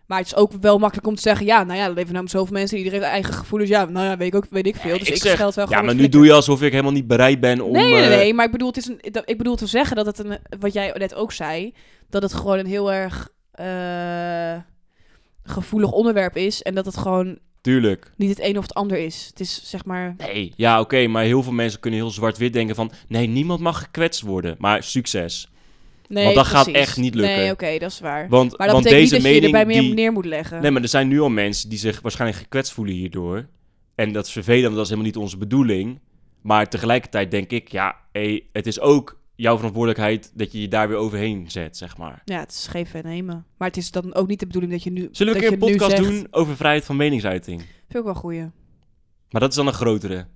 [SPEAKER 2] Maar het is ook wel makkelijk om te zeggen, ja, nou ja, er leven namelijk zoveel mensen, iedereen heeft eigen gevoelens. Ja, nou ja, weet ik ook, weet ik veel. Dus
[SPEAKER 1] Ik
[SPEAKER 2] ik,
[SPEAKER 1] zeg,
[SPEAKER 2] scheld wel
[SPEAKER 1] Ja,
[SPEAKER 2] gewoon
[SPEAKER 1] maar
[SPEAKER 2] een
[SPEAKER 1] nu
[SPEAKER 2] flikker.
[SPEAKER 1] doe je alsof ik helemaal niet bereid ben om...
[SPEAKER 2] Nee, nee,
[SPEAKER 1] eh,
[SPEAKER 2] nee, maar ik bedoel, het is een, dat- ik bedoel te zeggen dat het een, wat jij net ook zei, dat het gewoon een heel erg eh, gevoelig onderwerp is en dat het gewoon
[SPEAKER 1] Tuurlijk.
[SPEAKER 2] niet het een of het ander is. Het is zeg maar,
[SPEAKER 1] Nee, ja, oké, maar heel veel mensen kunnen heel zwart-wit denken van... Nee, niemand mag gekwetst worden, maar succes.
[SPEAKER 2] nee,
[SPEAKER 1] Want dat gaat
[SPEAKER 2] precies.
[SPEAKER 1] echt niet lukken.
[SPEAKER 2] Nee, oké, dat is waar.
[SPEAKER 1] Want,
[SPEAKER 2] Maar dat
[SPEAKER 1] want
[SPEAKER 2] betekent
[SPEAKER 1] deze
[SPEAKER 2] niet dat je je
[SPEAKER 1] mening
[SPEAKER 2] erbij meer
[SPEAKER 1] die...
[SPEAKER 2] neer moet leggen.
[SPEAKER 1] Nee, maar er zijn nu al mensen die zich waarschijnlijk gekwetst voelen hierdoor. En dat is vervelend, want dat is helemaal niet onze bedoeling. Maar tegelijkertijd denk ik, ja, hé, het is ook jouw verantwoordelijkheid dat je je daar weer overheen zet, zeg maar.
[SPEAKER 2] Ja, het is geven en nemen. Maar het is dan ook niet de bedoeling dat je nu.
[SPEAKER 1] Zullen we
[SPEAKER 2] dat
[SPEAKER 1] een keer een
[SPEAKER 2] je nu
[SPEAKER 1] podcast
[SPEAKER 2] zegt-
[SPEAKER 1] doen over vrijheid van meningsuiting?
[SPEAKER 2] Vind ik ook wel goeie.
[SPEAKER 1] Maar dat is dan een grotere.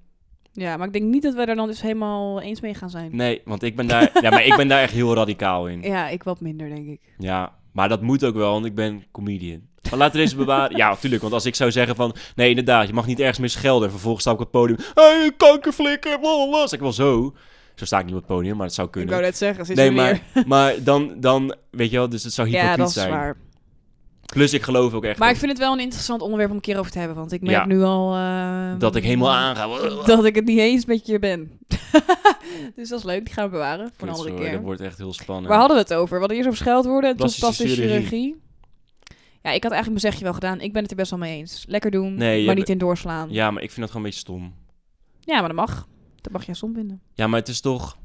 [SPEAKER 2] Ja, maar ik denk niet dat we daar dan dus helemaal eens mee gaan zijn.
[SPEAKER 1] Nee, want ik ben daar, ja, maar ik ben daar echt heel radicaal in.
[SPEAKER 2] Ja, ik wat minder, denk ik.
[SPEAKER 1] Ja, maar dat moet ook wel, want ik ben comedian. Maar laten we deze bewaren. Ja, natuurlijk. Want als ik zou zeggen van... Nee, inderdaad, je mag niet ergens meer schelden. En vervolgens sta ik op het podium. Hé, hey, kankerflikker, blablabla. Zeg ik wel zo. Zo sta ik niet op het podium, maar dat zou
[SPEAKER 2] Ik
[SPEAKER 1] kunnen.
[SPEAKER 2] wou net zeggen, ze is
[SPEAKER 1] nee,
[SPEAKER 2] weer
[SPEAKER 1] maar, maar dan, dan... Weet je wel, dus het zou hypocriet
[SPEAKER 2] Ja, dat is
[SPEAKER 1] zijn.
[SPEAKER 2] waar.
[SPEAKER 1] Plus ik geloof ook echt
[SPEAKER 2] Maar ik
[SPEAKER 1] dat-
[SPEAKER 2] vind het wel een interessant onderwerp om een keer over te hebben. Want ik merk
[SPEAKER 1] Ja.
[SPEAKER 2] nu al. eh,
[SPEAKER 1] dat ik helemaal aanga.
[SPEAKER 2] Dat ik het niet eens met je ben. dus dat is leuk, die gaan we bewaren voor
[SPEAKER 1] Kut,
[SPEAKER 2] een andere
[SPEAKER 1] sorry,
[SPEAKER 2] keer.
[SPEAKER 1] Dat wordt echt heel spannend.
[SPEAKER 2] Waar hadden we het over? We hadden eerst over scheldwoorden en toen
[SPEAKER 1] Plastische
[SPEAKER 2] plastische
[SPEAKER 1] chirurgie.
[SPEAKER 2] chirurgie. Ja, ik had eigenlijk mijn zegje wel gedaan. Ik ben het er best wel mee eens. Lekker doen,
[SPEAKER 1] Nee, je
[SPEAKER 2] maar
[SPEAKER 1] be-
[SPEAKER 2] niet in doorslaan.
[SPEAKER 1] Ja, maar ik vind dat gewoon een beetje stom.
[SPEAKER 2] Ja, maar dat mag. Dat mag jij som vinden.
[SPEAKER 1] Ja, maar het is toch...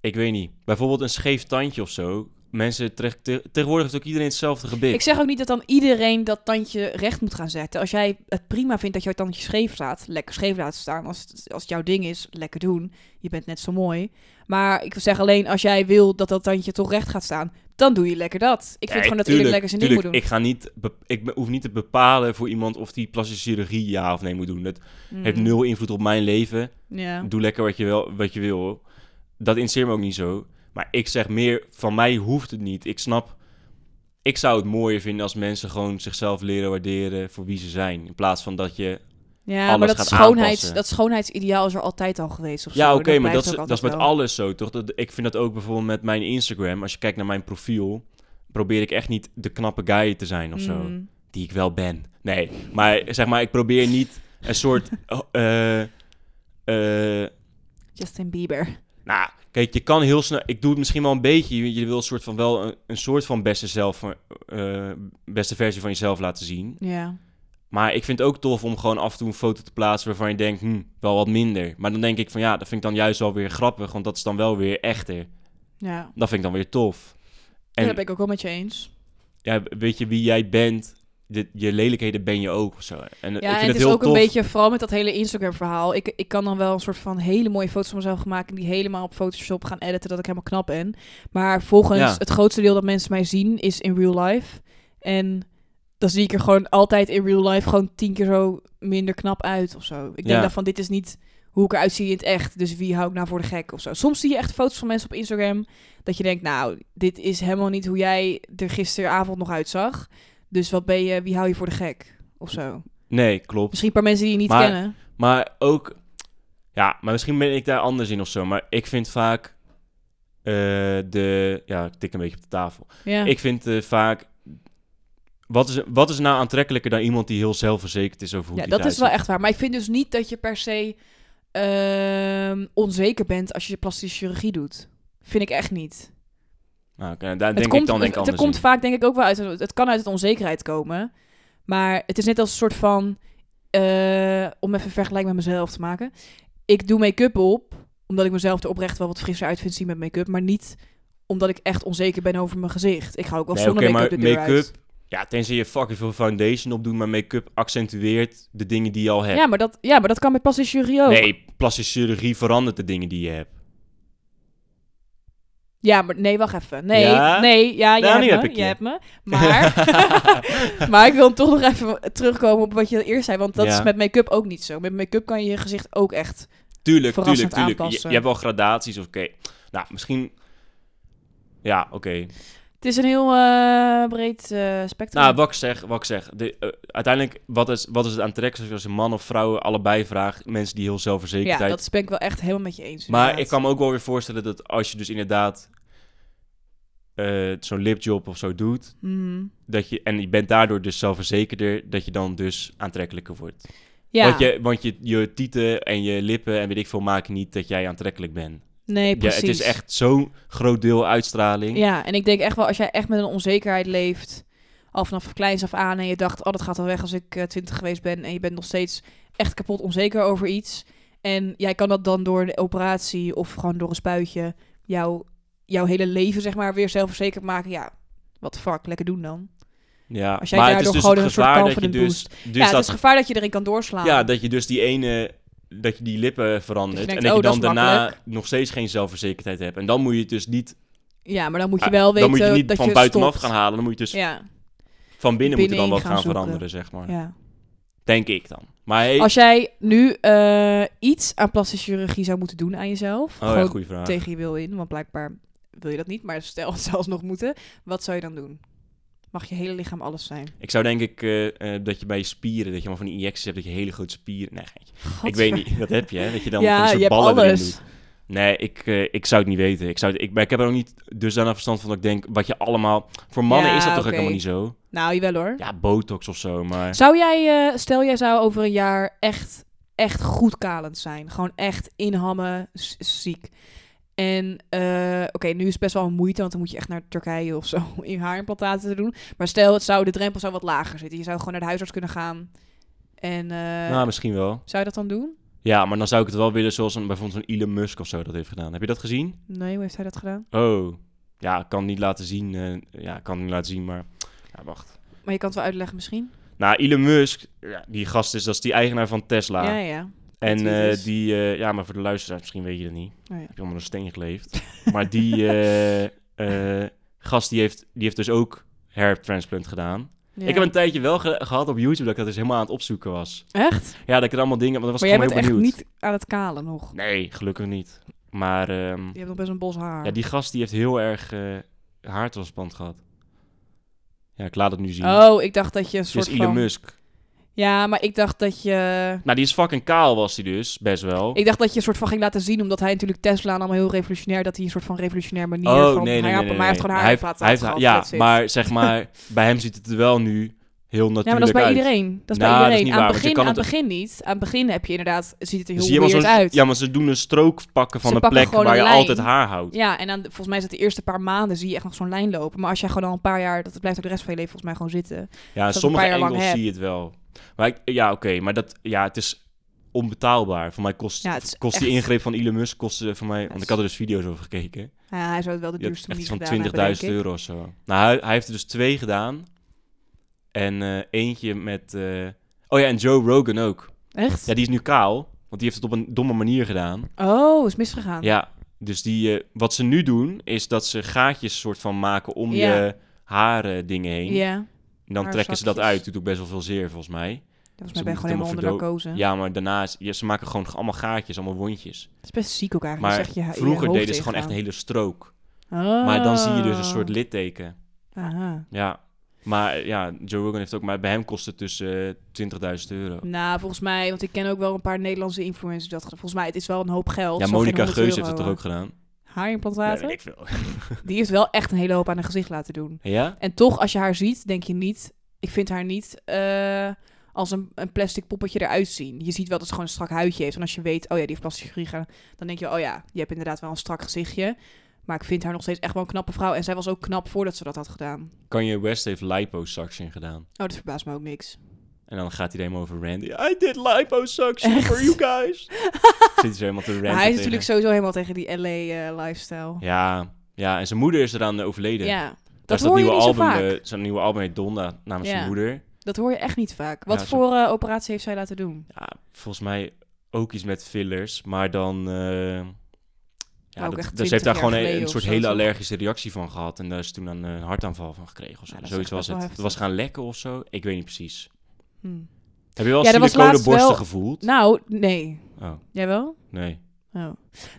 [SPEAKER 1] Ik weet niet. Bijvoorbeeld een scheef tandje of zo. Mensen... Terecht, te- tegenwoordig heeft ook iedereen hetzelfde gebit.
[SPEAKER 2] Ik zeg ook niet dat dan iedereen dat tandje recht moet gaan zetten. Als jij het prima vindt dat jouw tandje scheef staat, lekker scheef laten staan. Als het, als het jouw ding is, lekker doen. Je bent net zo mooi. Maar ik zeg alleen, als jij wil dat dat tandje toch recht gaat staan, dan doe je lekker dat. Ik vind
[SPEAKER 1] Nee,
[SPEAKER 2] gewoon dat
[SPEAKER 1] tuurlijk,
[SPEAKER 2] iedereen lekker zijn
[SPEAKER 1] tuurlijk.
[SPEAKER 2] ding moet
[SPEAKER 1] Ik, ga niet be- ik be- hoef niet te bepalen voor iemand of die plastische chirurgie ja of nee moet doen. Dat
[SPEAKER 2] doen. Mm.
[SPEAKER 1] heeft nul invloed op mijn leven.
[SPEAKER 2] Ja.
[SPEAKER 1] Doe lekker wat je, wel, wat je wil. Dat interesseert me ook niet zo. Maar ik zeg meer, van mij hoeft het niet. Ik snap, ik zou het mooier vinden als mensen gewoon zichzelf leren waarderen voor wie ze zijn. In plaats van dat je...
[SPEAKER 2] Ja,
[SPEAKER 1] alles
[SPEAKER 2] maar dat,
[SPEAKER 1] gaat
[SPEAKER 2] schoonheids,
[SPEAKER 1] aanpassen.
[SPEAKER 2] dat schoonheidsideaal is er altijd al geweest. Of
[SPEAKER 1] ja,
[SPEAKER 2] zo.
[SPEAKER 1] oké, maar dat,
[SPEAKER 2] blijft
[SPEAKER 1] is,
[SPEAKER 2] ook
[SPEAKER 1] dat is met
[SPEAKER 2] altijd wel.
[SPEAKER 1] alles zo, toch? Dat, ik vind dat ook bijvoorbeeld met mijn Instagram. Als je kijkt naar mijn profiel, probeer ik echt niet de knappe guy te zijn of zo.
[SPEAKER 2] Mm.
[SPEAKER 1] die ik wel ben. Nee, maar zeg maar, ik probeer niet een soort. eh, eh,
[SPEAKER 2] Justin Bieber.
[SPEAKER 1] nou, kijk, je kan heel snel. Ik doe het misschien wel een beetje. Je, je wil een soort van wel een, een soort van beste zelf, eh, beste versie van jezelf laten zien.
[SPEAKER 2] Ja.
[SPEAKER 1] Maar ik vind het ook tof om gewoon af en toe een foto te plaatsen waarvan je denkt, hm, wel wat minder. Maar dan denk ik van ja, dat vind ik dan juist wel weer grappig, want dat is dan wel weer echter.
[SPEAKER 2] Ja.
[SPEAKER 1] Dat vind ik dan weer tof.
[SPEAKER 2] Ja,
[SPEAKER 1] En
[SPEAKER 2] dat ben ik ook wel met je eens.
[SPEAKER 1] ja, weet je wie jij bent? De, je lelijkheden ben je ook of zo. En ik
[SPEAKER 2] Ja,
[SPEAKER 1] vind
[SPEAKER 2] en
[SPEAKER 1] het
[SPEAKER 2] het is
[SPEAKER 1] heel
[SPEAKER 2] ook
[SPEAKER 1] tof.
[SPEAKER 2] een beetje, vooral met dat hele Instagram-verhaal. Ik, ik kan dan wel een soort van hele mooie foto's van mezelf maken. Die helemaal op Photoshop gaan editen, dat ik helemaal knap ben. Maar volgens
[SPEAKER 1] Ja.
[SPEAKER 2] het grootste deel dat mensen mij zien is in real life. En dan zie ik er gewoon altijd in real life gewoon tien keer zo minder knap uit of zo. Ik denk
[SPEAKER 1] Ja.
[SPEAKER 2] dan van, dit is niet hoe ik eruit zie in het echt. Dus wie hou ik nou voor de gek of zo. Soms zie je echt foto's van mensen op Instagram. Dat je denkt, nou, dit is helemaal niet hoe jij er gisteravond nog uitzag. Dus wat ben je, wie hou je voor de gek? Of zo.
[SPEAKER 1] Nee, klopt.
[SPEAKER 2] Misschien een paar mensen die je niet
[SPEAKER 1] Maar-
[SPEAKER 2] kennen.
[SPEAKER 1] Maar ook, ja, maar misschien ben ik daar anders in of zo. Maar ik vind vaak eh, de, ja, ik tik een beetje op de tafel.
[SPEAKER 2] Ja.
[SPEAKER 1] Ik vind eh, vaak, wat is, wat is nou aantrekkelijker dan iemand die heel zelfverzekerd is over hoe
[SPEAKER 2] ja,
[SPEAKER 1] die
[SPEAKER 2] dat is
[SPEAKER 1] eruit
[SPEAKER 2] wel
[SPEAKER 1] ziet?
[SPEAKER 2] echt waar. Maar ik vind dus niet dat je per se ehm, onzeker bent als je plastische chirurgie doet. Vind ik echt niet.
[SPEAKER 1] Nou, oké, daar denk ik dan denk ik
[SPEAKER 2] het, het
[SPEAKER 1] anders
[SPEAKER 2] komt
[SPEAKER 1] in.
[SPEAKER 2] vaak denk ik ook wel uit, het kan uit het onzekerheid komen. Maar het is net als een soort van, eh, om even een vergelijking met mezelf te maken. Ik doe make-up op, omdat ik mezelf er oprecht wel wat frisser uit vind zien met make-up. Maar niet omdat ik echt onzeker ben over mijn gezicht. Ik ga ook wel
[SPEAKER 1] Nee,
[SPEAKER 2] zonder
[SPEAKER 1] oké,
[SPEAKER 2] make-up de
[SPEAKER 1] maar
[SPEAKER 2] deur uit.
[SPEAKER 1] make-up Ja, tenzij je fucking veel foundation opdoet, maar make-up accentueert de dingen die je al hebt.
[SPEAKER 2] Ja, maar dat, ja, maar dat kan met plastische chirurgie ook.
[SPEAKER 1] eh, nee, plastische chirurgie verandert de dingen die je hebt.
[SPEAKER 2] Ja, maar nee, wacht even. Nee,
[SPEAKER 1] Ja?
[SPEAKER 2] nee, ja, je
[SPEAKER 1] Nou,
[SPEAKER 2] hebt
[SPEAKER 1] nu
[SPEAKER 2] me,
[SPEAKER 1] heb ik
[SPEAKER 2] je
[SPEAKER 1] je.
[SPEAKER 2] hebt me. Maar, maar ik wil toch nog even terugkomen op wat je eerst zei, want dat
[SPEAKER 1] Ja.
[SPEAKER 2] is met make-up ook niet zo. Met make-up kan je je gezicht ook echt.
[SPEAKER 1] Tuurlijk, tuurlijk,
[SPEAKER 2] Verrassend
[SPEAKER 1] tuurlijk. Je,
[SPEAKER 2] aanpassen.
[SPEAKER 1] je hebt wel gradaties, of oké. Nou, misschien... Ja, oké.
[SPEAKER 2] Het is een heel eh, breed eh, spectrum.
[SPEAKER 1] Nou, wat ik zeg, wat ik zeg. De, eh, uiteindelijk, wat is, wat is het aantrekkelijk als je man of vrouw allebei vraagt? Mensen die heel
[SPEAKER 2] ja,
[SPEAKER 1] zelfverzekerd zijn.
[SPEAKER 2] dat is- ben ik wel echt helemaal met je eens.
[SPEAKER 1] maar
[SPEAKER 2] inderdaad.
[SPEAKER 1] ik kan me ook wel weer voorstellen dat als je dus inderdaad eh, zo'n lipjob of zo doet,
[SPEAKER 2] Mhm.
[SPEAKER 1] dat je, en je bent daardoor dus zelfverzekerder, dat je dan dus aantrekkelijker wordt.
[SPEAKER 2] Ja,
[SPEAKER 1] Want, je, want je, je tieten en je lippen en weet ik veel maken niet dat jij aantrekkelijk bent.
[SPEAKER 2] nee,
[SPEAKER 1] Ja,
[SPEAKER 2] precies.
[SPEAKER 1] het is echt zo'n groot deel uitstraling.
[SPEAKER 2] Ja, en ik denk echt wel, als jij echt met een onzekerheid leeft, al vanaf kleins af aan, en je dacht, oh, dat gaat al weg als ik twintig geweest ben, en je bent nog steeds echt kapot onzeker over iets, en jij kan dat dan door een operatie of gewoon door een spuitje jouw, jouw hele leven, zeg maar, weer zelfverzekerd maken, ja, wat de fuck, lekker doen dan.
[SPEAKER 1] Dus Ja,
[SPEAKER 2] Als jij
[SPEAKER 1] maar
[SPEAKER 2] daardoor
[SPEAKER 1] het is dus
[SPEAKER 2] gewoon
[SPEAKER 1] het
[SPEAKER 2] een soort
[SPEAKER 1] gevaar dat je
[SPEAKER 2] confident
[SPEAKER 1] dus,
[SPEAKER 2] boost-
[SPEAKER 1] dus
[SPEAKER 2] ja, het
[SPEAKER 1] dat,
[SPEAKER 2] is gevaar dat je erin kan doorslaan.
[SPEAKER 1] ja, dat je dus die ene, dat je die lippen verandert
[SPEAKER 2] denkt,
[SPEAKER 1] en dat
[SPEAKER 2] oh,
[SPEAKER 1] je dan
[SPEAKER 2] dat is
[SPEAKER 1] daarna
[SPEAKER 2] makkelijk.
[SPEAKER 1] nog steeds geen zelfverzekerdheid hebt. En dan moet je het dus niet,
[SPEAKER 2] Ja, maar dan moet je
[SPEAKER 1] ah,
[SPEAKER 2] wel weten
[SPEAKER 1] dan moet je niet
[SPEAKER 2] dat
[SPEAKER 1] van
[SPEAKER 2] je
[SPEAKER 1] buitenaf
[SPEAKER 2] stopt.
[SPEAKER 1] gaan halen. Dan moet je dus
[SPEAKER 2] Ja,
[SPEAKER 1] van binnen, moet je dan
[SPEAKER 2] Binnenin
[SPEAKER 1] wat
[SPEAKER 2] gaan
[SPEAKER 1] gaan,
[SPEAKER 2] zoeken.
[SPEAKER 1] veranderen, zeg maar.
[SPEAKER 2] ja.
[SPEAKER 1] Denk ik dan. Maar hey,
[SPEAKER 2] Als jij nu eh, iets aan plastische chirurgie zou moeten doen aan jezelf,
[SPEAKER 1] oh, ja,
[SPEAKER 2] gewoon
[SPEAKER 1] goede vraag.
[SPEAKER 2] tegen je wil in, want blijkbaar wil je dat niet, maar stel het zelfs nog moeten, wat zou je dan doen? Mag je hele lichaam alles zijn?
[SPEAKER 1] Ik zou denk ik eh, eh, dat je bij je spieren, dat je maar van die injecties hebt, dat je hele grote spieren... Nee, geintje. ik weet niet, dat heb je, hè? Dat je dan van
[SPEAKER 2] ja,
[SPEAKER 1] een soort
[SPEAKER 2] je hebt
[SPEAKER 1] ballen erin
[SPEAKER 2] alles.
[SPEAKER 1] doet. Nee, ik, eh, ik zou het niet weten. Ik, zou het, ik, maar ik heb er ook niet dusdanig verstand van dat ik denk, wat je allemaal... Voor mannen
[SPEAKER 2] Ja,
[SPEAKER 1] is dat toch ook
[SPEAKER 2] oké.
[SPEAKER 1] helemaal niet zo?
[SPEAKER 2] Nou, jawel hoor.
[SPEAKER 1] Ja, botox of zo, maar...
[SPEAKER 2] Zou jij, eh, stel jij zou over een jaar echt, echt goed kalend zijn. Gewoon echt inhammen, z- ziek. En eh, oké, nu is het best wel een moeite, want dan moet je echt naar Turkije of zo in haarimplantaten te doen. Maar stel, het zou, de drempel zou wat lager zitten. Je zou gewoon naar de huisarts kunnen gaan. En eh,
[SPEAKER 1] nou, misschien wel.
[SPEAKER 2] zou je dat dan doen?
[SPEAKER 1] Ja, maar dan zou ik het wel willen zoals een, bijvoorbeeld zo'n Elon Musk of zo dat heeft gedaan. Heb je dat gezien?
[SPEAKER 2] Nee, hoe heeft hij dat gedaan?
[SPEAKER 1] Oh, ja, ik kan het niet laten zien. eh, ja, ik kan het niet laten zien, maar... Ja, wacht.
[SPEAKER 2] Maar je kan het wel uitleggen misschien.
[SPEAKER 1] Nou, Elon Musk, ja, die gast is, dat is die eigenaar van Tesla.
[SPEAKER 2] Ja, ja.
[SPEAKER 1] En
[SPEAKER 2] Weet wie het
[SPEAKER 1] eh,
[SPEAKER 2] is.
[SPEAKER 1] die, eh, ja, maar voor de luisteraars, misschien weet je dat niet.
[SPEAKER 2] Oh ja.
[SPEAKER 1] Heb je onder een steen geleefd. maar die eh, eh, gast, die heeft, die heeft dus ook hairtransplant gedaan.
[SPEAKER 2] Ja.
[SPEAKER 1] Ik heb een tijdje wel ge- gehad op YouTube dat ik dat dus helemaal aan het opzoeken was.
[SPEAKER 2] Echt?
[SPEAKER 1] Ja, dat ik er allemaal dingen... Want dan was
[SPEAKER 2] Maar
[SPEAKER 1] ik
[SPEAKER 2] jij
[SPEAKER 1] gewoon
[SPEAKER 2] bent
[SPEAKER 1] heel
[SPEAKER 2] echt
[SPEAKER 1] benieuwd.
[SPEAKER 2] niet aan het kalen nog.
[SPEAKER 1] Nee, gelukkig niet. Maar ehm,
[SPEAKER 2] Je hebt nog best een bos haar.
[SPEAKER 1] ja, die gast die heeft heel erg eh haartransplant gehad. Ja, ik laat het nu zien.
[SPEAKER 2] Oh, ik dacht dat je een
[SPEAKER 1] Dit
[SPEAKER 2] soort
[SPEAKER 1] is Elon
[SPEAKER 2] van...
[SPEAKER 1] Musk.
[SPEAKER 2] Ja, maar ik dacht dat je...
[SPEAKER 1] Nou, die is fucking kaal was hij dus, best wel.
[SPEAKER 2] Ik dacht dat je een soort van ging laten zien, omdat hij natuurlijk Tesla en allemaal heel revolutionair, dat hij een soort van revolutionair manier
[SPEAKER 1] Oh,
[SPEAKER 2] van haar, maar hij heeft gewoon haar
[SPEAKER 1] Hij heeft-
[SPEAKER 2] laten
[SPEAKER 1] hij heeft-
[SPEAKER 2] gehad,
[SPEAKER 1] Ja,
[SPEAKER 2] that's it.
[SPEAKER 1] maar zeg maar, bij hem ziet het er wel nu heel natuurlijk uit.
[SPEAKER 2] Ja, maar dat is bij iedereen. Dat is
[SPEAKER 1] Nou, dat
[SPEAKER 2] bij
[SPEAKER 1] is
[SPEAKER 2] iedereen.
[SPEAKER 1] niet
[SPEAKER 2] aan
[SPEAKER 1] waar, want
[SPEAKER 2] het
[SPEAKER 1] je
[SPEAKER 2] begin,
[SPEAKER 1] kan
[SPEAKER 2] aan het
[SPEAKER 1] het-
[SPEAKER 2] begin niet. Aan het begin heb je inderdaad, ziet het er
[SPEAKER 1] Dus
[SPEAKER 2] heel
[SPEAKER 1] je hebt
[SPEAKER 2] weird
[SPEAKER 1] zo'n-
[SPEAKER 2] uit.
[SPEAKER 1] Ja, maar ze doen een strook pakken van
[SPEAKER 2] Ze
[SPEAKER 1] een
[SPEAKER 2] pakken
[SPEAKER 1] plek
[SPEAKER 2] gewoon
[SPEAKER 1] waar je
[SPEAKER 2] een lijn.
[SPEAKER 1] altijd haar houdt.
[SPEAKER 2] Ja, en dan, volgens mij is dat de eerste paar maanden zie je echt nog zo'n lijn lopen. Maar als jij gewoon al een paar jaar, dat blijft ook de rest van je leven volgens mij gewoon zitten.
[SPEAKER 1] Ja,
[SPEAKER 2] dat een
[SPEAKER 1] sommige
[SPEAKER 2] paar jaar lang
[SPEAKER 1] engels
[SPEAKER 2] hebt.
[SPEAKER 1] zie je het wel. Maar ik- ja, oké, maar dat, ja, het is onbetaalbaar. Voor mij kost,
[SPEAKER 2] Ja, het is
[SPEAKER 1] kost die
[SPEAKER 2] echt-
[SPEAKER 1] ingreep van Elon Musk, kost, eh, voor mij, want
[SPEAKER 2] is-
[SPEAKER 1] ik had er dus video's over gekeken.
[SPEAKER 2] Ja, hij zou het wel de
[SPEAKER 1] Die had
[SPEAKER 2] duurste
[SPEAKER 1] echt
[SPEAKER 2] manier
[SPEAKER 1] iets van
[SPEAKER 2] gedaan
[SPEAKER 1] 20.000
[SPEAKER 2] hebben, denk ik.
[SPEAKER 1] euro of zo. Nou, hij, hij heeft er dus twee gedaan. En eh, eentje met... eh, oh ja, en Joe Rogan ook.
[SPEAKER 2] Echt?
[SPEAKER 1] Ja, die is nu kaal, want die heeft het op een domme manier gedaan.
[SPEAKER 2] Oh, is misgegaan.
[SPEAKER 1] Ja, dus die, eh, wat ze nu doen, is dat ze gaatjes soort van maken om
[SPEAKER 2] Ja.
[SPEAKER 1] je haren dingen heen.
[SPEAKER 2] Ja.
[SPEAKER 1] En dan trekken ze dat
[SPEAKER 2] Haarzakjes.
[SPEAKER 1] uit. Doet ook best wel veel zeer, volgens mij.
[SPEAKER 2] Volgens
[SPEAKER 1] Ze
[SPEAKER 2] mij ben je
[SPEAKER 1] moeten
[SPEAKER 2] gewoon helemaal
[SPEAKER 1] hem
[SPEAKER 2] onder
[SPEAKER 1] verdoven.
[SPEAKER 2] narcose.
[SPEAKER 1] Ja, maar daarna, is- ja, ze maken gewoon allemaal gaatjes, allemaal wondjes.
[SPEAKER 2] Het is best ziek ook eigenlijk.
[SPEAKER 1] Maar
[SPEAKER 2] zeg je, je
[SPEAKER 1] vroeger
[SPEAKER 2] hoofd
[SPEAKER 1] deden ze gewoon echt een
[SPEAKER 2] ingaan.
[SPEAKER 1] hele strook.
[SPEAKER 2] Oh.
[SPEAKER 1] Maar dan zie je dus een soort litteken.
[SPEAKER 2] Aha.
[SPEAKER 1] Ja. Maar eh, ja, Joe Rogan heeft ook, maar bij hem kost het dus eh, 20.000 euro.
[SPEAKER 2] Nou, volgens mij, want ik ken ook wel een paar Nederlandse influencers die dat Volgens mij, het is wel een hoop geld.
[SPEAKER 1] Ja,
[SPEAKER 2] Het zal geen
[SPEAKER 1] Monica
[SPEAKER 2] 100
[SPEAKER 1] Geus heeft
[SPEAKER 2] euro,
[SPEAKER 1] het toch ook gedaan?
[SPEAKER 2] eh, Haarimplantaten?
[SPEAKER 1] ik veel.
[SPEAKER 2] Die heeft wel echt een hele hoop aan haar gezicht laten doen.
[SPEAKER 1] Ja?
[SPEAKER 2] En toch, als je haar ziet, denk je niet... Ik vind haar niet eh, als een, een plastic poppetje eruit zien. Je ziet wel dat ze gewoon een strak huidje heeft. En als je weet, oh ja, die heeft plastische chirurgie gedaan... dan denk je, oh ja, je hebt inderdaad wel een strak gezichtje. Maar ik vind haar nog steeds echt wel een knappe vrouw. En zij was ook knap voordat ze dat had gedaan.
[SPEAKER 1] Kanye West heeft liposuction gedaan.
[SPEAKER 2] Oh, dat verbaast me ook niks.
[SPEAKER 1] En dan gaat hij er helemaal over ranten. I did liposuction
[SPEAKER 2] Echt?
[SPEAKER 1] for you guys. Zit hij zo helemaal te ranten
[SPEAKER 2] Maar hij
[SPEAKER 1] tegen.
[SPEAKER 2] is natuurlijk sowieso helemaal tegen die eh, LA-lifestyle.
[SPEAKER 1] Ja, ja, en zijn moeder is eraan
[SPEAKER 2] ja,
[SPEAKER 1] overleden.
[SPEAKER 2] dat
[SPEAKER 1] is dat
[SPEAKER 2] hoor je
[SPEAKER 1] nieuwe
[SPEAKER 2] niet zo
[SPEAKER 1] album,
[SPEAKER 2] vaak.
[SPEAKER 1] eh, Zo'n nieuwe album heet Donda namens
[SPEAKER 2] Ja.
[SPEAKER 1] zijn moeder.
[SPEAKER 2] Dat hoor je echt niet vaak. Wat
[SPEAKER 1] zo-
[SPEAKER 2] voor eh, operatie heeft zij laten doen?
[SPEAKER 1] Ja, volgens mij ook iets met fillers, maar dan... eh, ja,
[SPEAKER 2] ook
[SPEAKER 1] dat,
[SPEAKER 2] echt
[SPEAKER 1] dus
[SPEAKER 2] 20
[SPEAKER 1] ze heeft daar
[SPEAKER 2] jaar
[SPEAKER 1] gewoon een,
[SPEAKER 2] geleden
[SPEAKER 1] een
[SPEAKER 2] of
[SPEAKER 1] soort
[SPEAKER 2] zo,
[SPEAKER 1] hele
[SPEAKER 2] toch?
[SPEAKER 1] allergische reactie van gehad. En daar is toen een, een hartaanval van gekregen of zo.
[SPEAKER 2] Ja, dat is
[SPEAKER 1] Zoiets
[SPEAKER 2] echt
[SPEAKER 1] was
[SPEAKER 2] best wel
[SPEAKER 1] het. Het
[SPEAKER 2] heftig.
[SPEAKER 1] was gaan lekken of zo. Ik weet niet precies.
[SPEAKER 2] Hm.
[SPEAKER 1] Heb je wel
[SPEAKER 2] Ja, er was
[SPEAKER 1] siliconen
[SPEAKER 2] laatst
[SPEAKER 1] borsten
[SPEAKER 2] wel-
[SPEAKER 1] gevoeld?
[SPEAKER 2] Nou, nee.
[SPEAKER 1] Oh,
[SPEAKER 2] Jij wel?
[SPEAKER 1] nee.
[SPEAKER 2] Oh. Oh.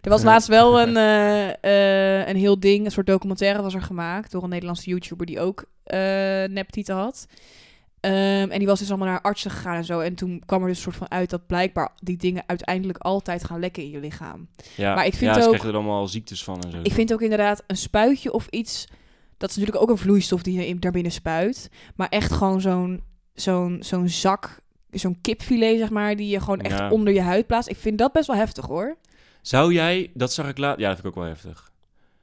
[SPEAKER 2] Er was laatst wel een, eh, eh, een heel ding, een soort documentaire was er gemaakt door een Nederlandse YouTuber die ook eh neptieten had. Ehm, en die was dus allemaal naar artsen gegaan en zo. En toen kwam er dus een soort van uit dat blijkbaar die dingen uiteindelijk altijd gaan lekken in je lichaam.
[SPEAKER 1] Ja,
[SPEAKER 2] Maar ik vind
[SPEAKER 1] ja, ze
[SPEAKER 2] ook-
[SPEAKER 1] krijgen er allemaal ziektes van en zo.
[SPEAKER 2] Ik vind ook inderdaad een spuitje of iets, dat is natuurlijk ook een vloeistof die je in- daarbinnen spuit. Maar echt gewoon zo'n zo'n zo'n zak, zo'n kipfilet zeg maar, die je gewoon echt
[SPEAKER 1] Ja.
[SPEAKER 2] onder je huid plaatst. Ik vind dat best wel heftig hoor.
[SPEAKER 1] Zou jij, dat zag ik laat, ja, dat vind ik ook wel heftig.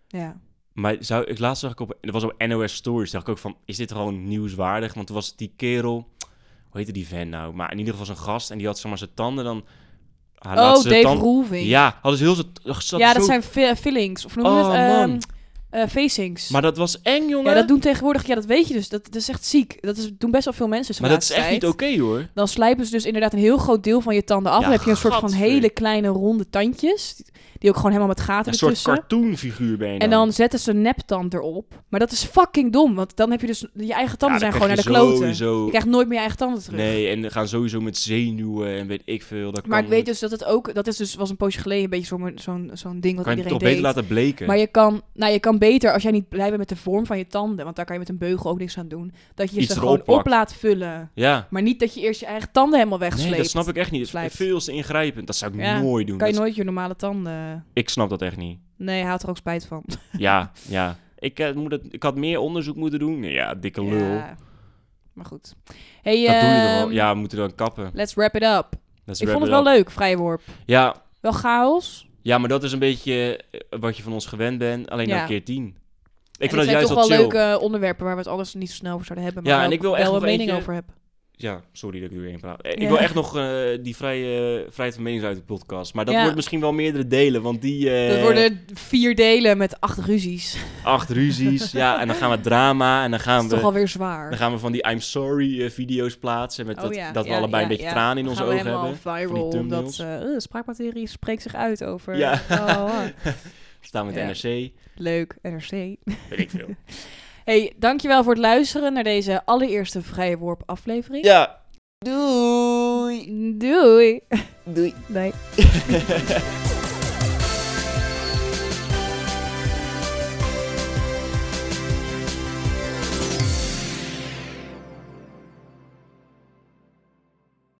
[SPEAKER 2] Ja.
[SPEAKER 1] Maar zou, ik laatst zag ik op, dat was op NOS Stories, dacht ik ook van, is dit gewoon nieuwswaardig? Want toen was het die kerel, hoe heette die van nou? Maar in ieder geval zo'n gast en die had zomaar zijn tanden dan... Hij laat
[SPEAKER 2] oh,
[SPEAKER 1] zijn
[SPEAKER 2] Dave
[SPEAKER 1] tanden-
[SPEAKER 2] Roelvink.
[SPEAKER 1] Ja, hadden ze heel zat, zat
[SPEAKER 2] ja,
[SPEAKER 1] zo-
[SPEAKER 2] dat zijn fi- fillings. Of noem je
[SPEAKER 1] Oh,
[SPEAKER 2] het? ehm,
[SPEAKER 1] man.
[SPEAKER 2] eh, facings.
[SPEAKER 1] Maar dat was eng, jongen.
[SPEAKER 2] ja, dat doen tegenwoordig... Ja, dat weet je dus. Dat, dat is echt ziek. Dat is, doen best wel veel mensen. zo
[SPEAKER 1] maar
[SPEAKER 2] de
[SPEAKER 1] dat is echt
[SPEAKER 2] laatste
[SPEAKER 1] niet
[SPEAKER 2] tijd.
[SPEAKER 1] oké, hoor.
[SPEAKER 2] Dan slijpen ze dus inderdaad een heel groot deel van je tanden af.
[SPEAKER 1] Ja,
[SPEAKER 2] dan heb je een soort van
[SPEAKER 1] gadver.
[SPEAKER 2] hele kleine ronde tandjes. Die ook gewoon helemaal met gaten
[SPEAKER 1] Een soort
[SPEAKER 2] ertussen.
[SPEAKER 1] cartoonfiguur ben je
[SPEAKER 2] en dan zetten ze een neptand erop. Maar dat is fucking dom. Want dan heb je dus... Je eigen tanden zijn gewoon naar de kloten. Je krijgt nooit meer je eigen tanden terug.
[SPEAKER 1] Nee, en dan gaan sowieso met zenuwen en weet ik veel. Dat
[SPEAKER 2] Maar
[SPEAKER 1] kan,
[SPEAKER 2] ik weet dus dat het ook... Dat is dus, was een poosje geleden een beetje zo'n zo'n zo'n ding wat
[SPEAKER 1] kan je het
[SPEAKER 2] iedereen
[SPEAKER 1] toch
[SPEAKER 2] deed.
[SPEAKER 1] beter laten bleken.
[SPEAKER 2] Maar je kan, nou, je kan beter als jij niet blij bent met de vorm van je tanden, want daar kan je met een beugel ook niks aan doen, dat je
[SPEAKER 1] Iets
[SPEAKER 2] ze
[SPEAKER 1] erop
[SPEAKER 2] gewoon
[SPEAKER 1] plakt.
[SPEAKER 2] op laat vullen.
[SPEAKER 1] Ja,
[SPEAKER 2] Maar niet dat je eerst je eigen tanden helemaal wegsleept.
[SPEAKER 1] nee, dat snap ik echt niet. Dat is
[SPEAKER 2] Slijpt.
[SPEAKER 1] veel te ingrijpend. Dat zou ik
[SPEAKER 2] Ja,
[SPEAKER 1] nooit doen.
[SPEAKER 2] Kan je
[SPEAKER 1] Dat-
[SPEAKER 2] nooit je normale tanden.
[SPEAKER 1] Ik snap dat echt niet.
[SPEAKER 2] Nee, hij had er ook spijt van.
[SPEAKER 1] Ja, ja. Ik, eh, moet het, ik had meer onderzoek moeten doen. Nee, Ja, dikke lul.
[SPEAKER 2] Ja. Maar goed. Hey,
[SPEAKER 1] Dat doe je toch wel.
[SPEAKER 2] ehm,
[SPEAKER 1] Ja, we moeten dan kappen.
[SPEAKER 2] Let's wrap it up.
[SPEAKER 1] Let's
[SPEAKER 2] ik
[SPEAKER 1] wrap
[SPEAKER 2] vond het
[SPEAKER 1] it
[SPEAKER 2] wel
[SPEAKER 1] up.
[SPEAKER 2] leuk, vrije worp.
[SPEAKER 1] Ja,
[SPEAKER 2] Wel chaos.
[SPEAKER 1] ja, maar dat is een beetje eh, wat je van ons gewend bent. Alleen dan
[SPEAKER 2] Ja.
[SPEAKER 1] keer tien.
[SPEAKER 2] En
[SPEAKER 1] Ik vond dat
[SPEAKER 2] zijn
[SPEAKER 1] juist
[SPEAKER 2] toch wel
[SPEAKER 1] wel chill.
[SPEAKER 2] leuke onderwerpen waar we het anders niet zo snel over zouden hebben. Maar
[SPEAKER 1] Ja,
[SPEAKER 2] waar
[SPEAKER 1] en ik wil echt
[SPEAKER 2] wel een
[SPEAKER 1] nog
[SPEAKER 2] mening
[SPEAKER 1] eentje-
[SPEAKER 2] over heb.
[SPEAKER 1] Ja, sorry dat ik er weer in praat. Eh,
[SPEAKER 2] Ja.
[SPEAKER 1] Ik wil echt nog eh, die vrije, vrijheid van meningsuiting podcast. Maar dat
[SPEAKER 2] Ja.
[SPEAKER 1] wordt misschien wel meerdere delen, want die... eh,
[SPEAKER 2] Dat worden vier delen met acht ruzies.
[SPEAKER 1] Acht ruzies, ja. En dan gaan we drama en dan
[SPEAKER 2] Dat
[SPEAKER 1] gaan
[SPEAKER 2] is
[SPEAKER 1] we...
[SPEAKER 2] toch alweer
[SPEAKER 1] Dan
[SPEAKER 2] zwaar.
[SPEAKER 1] gaan we van die I'm sorry eh, video's plaatsen. Met
[SPEAKER 2] Oh
[SPEAKER 1] dat,
[SPEAKER 2] ja,
[SPEAKER 1] dat we
[SPEAKER 2] ja,
[SPEAKER 1] allebei
[SPEAKER 2] ja,
[SPEAKER 1] een beetje
[SPEAKER 2] ja.
[SPEAKER 1] tranen in
[SPEAKER 2] Dan
[SPEAKER 1] onze
[SPEAKER 2] gaan we
[SPEAKER 1] ogen
[SPEAKER 2] helemaal
[SPEAKER 1] hebben.
[SPEAKER 2] Viral,
[SPEAKER 1] die
[SPEAKER 2] omdat
[SPEAKER 1] thumbnails.
[SPEAKER 2] eh, eh, spraakmaterie spreekt zich uit over.
[SPEAKER 1] Ja.
[SPEAKER 2] eh, oh, oh.
[SPEAKER 1] Staan met
[SPEAKER 2] Ja.
[SPEAKER 1] NRC.
[SPEAKER 2] Leuk, NRC.
[SPEAKER 1] Weet ik veel.
[SPEAKER 2] Hey, dankjewel voor het luisteren naar deze allereerste Vrije Worp aflevering.
[SPEAKER 1] Ja.
[SPEAKER 2] Doei. Doei.
[SPEAKER 1] Doei.
[SPEAKER 2] Bye.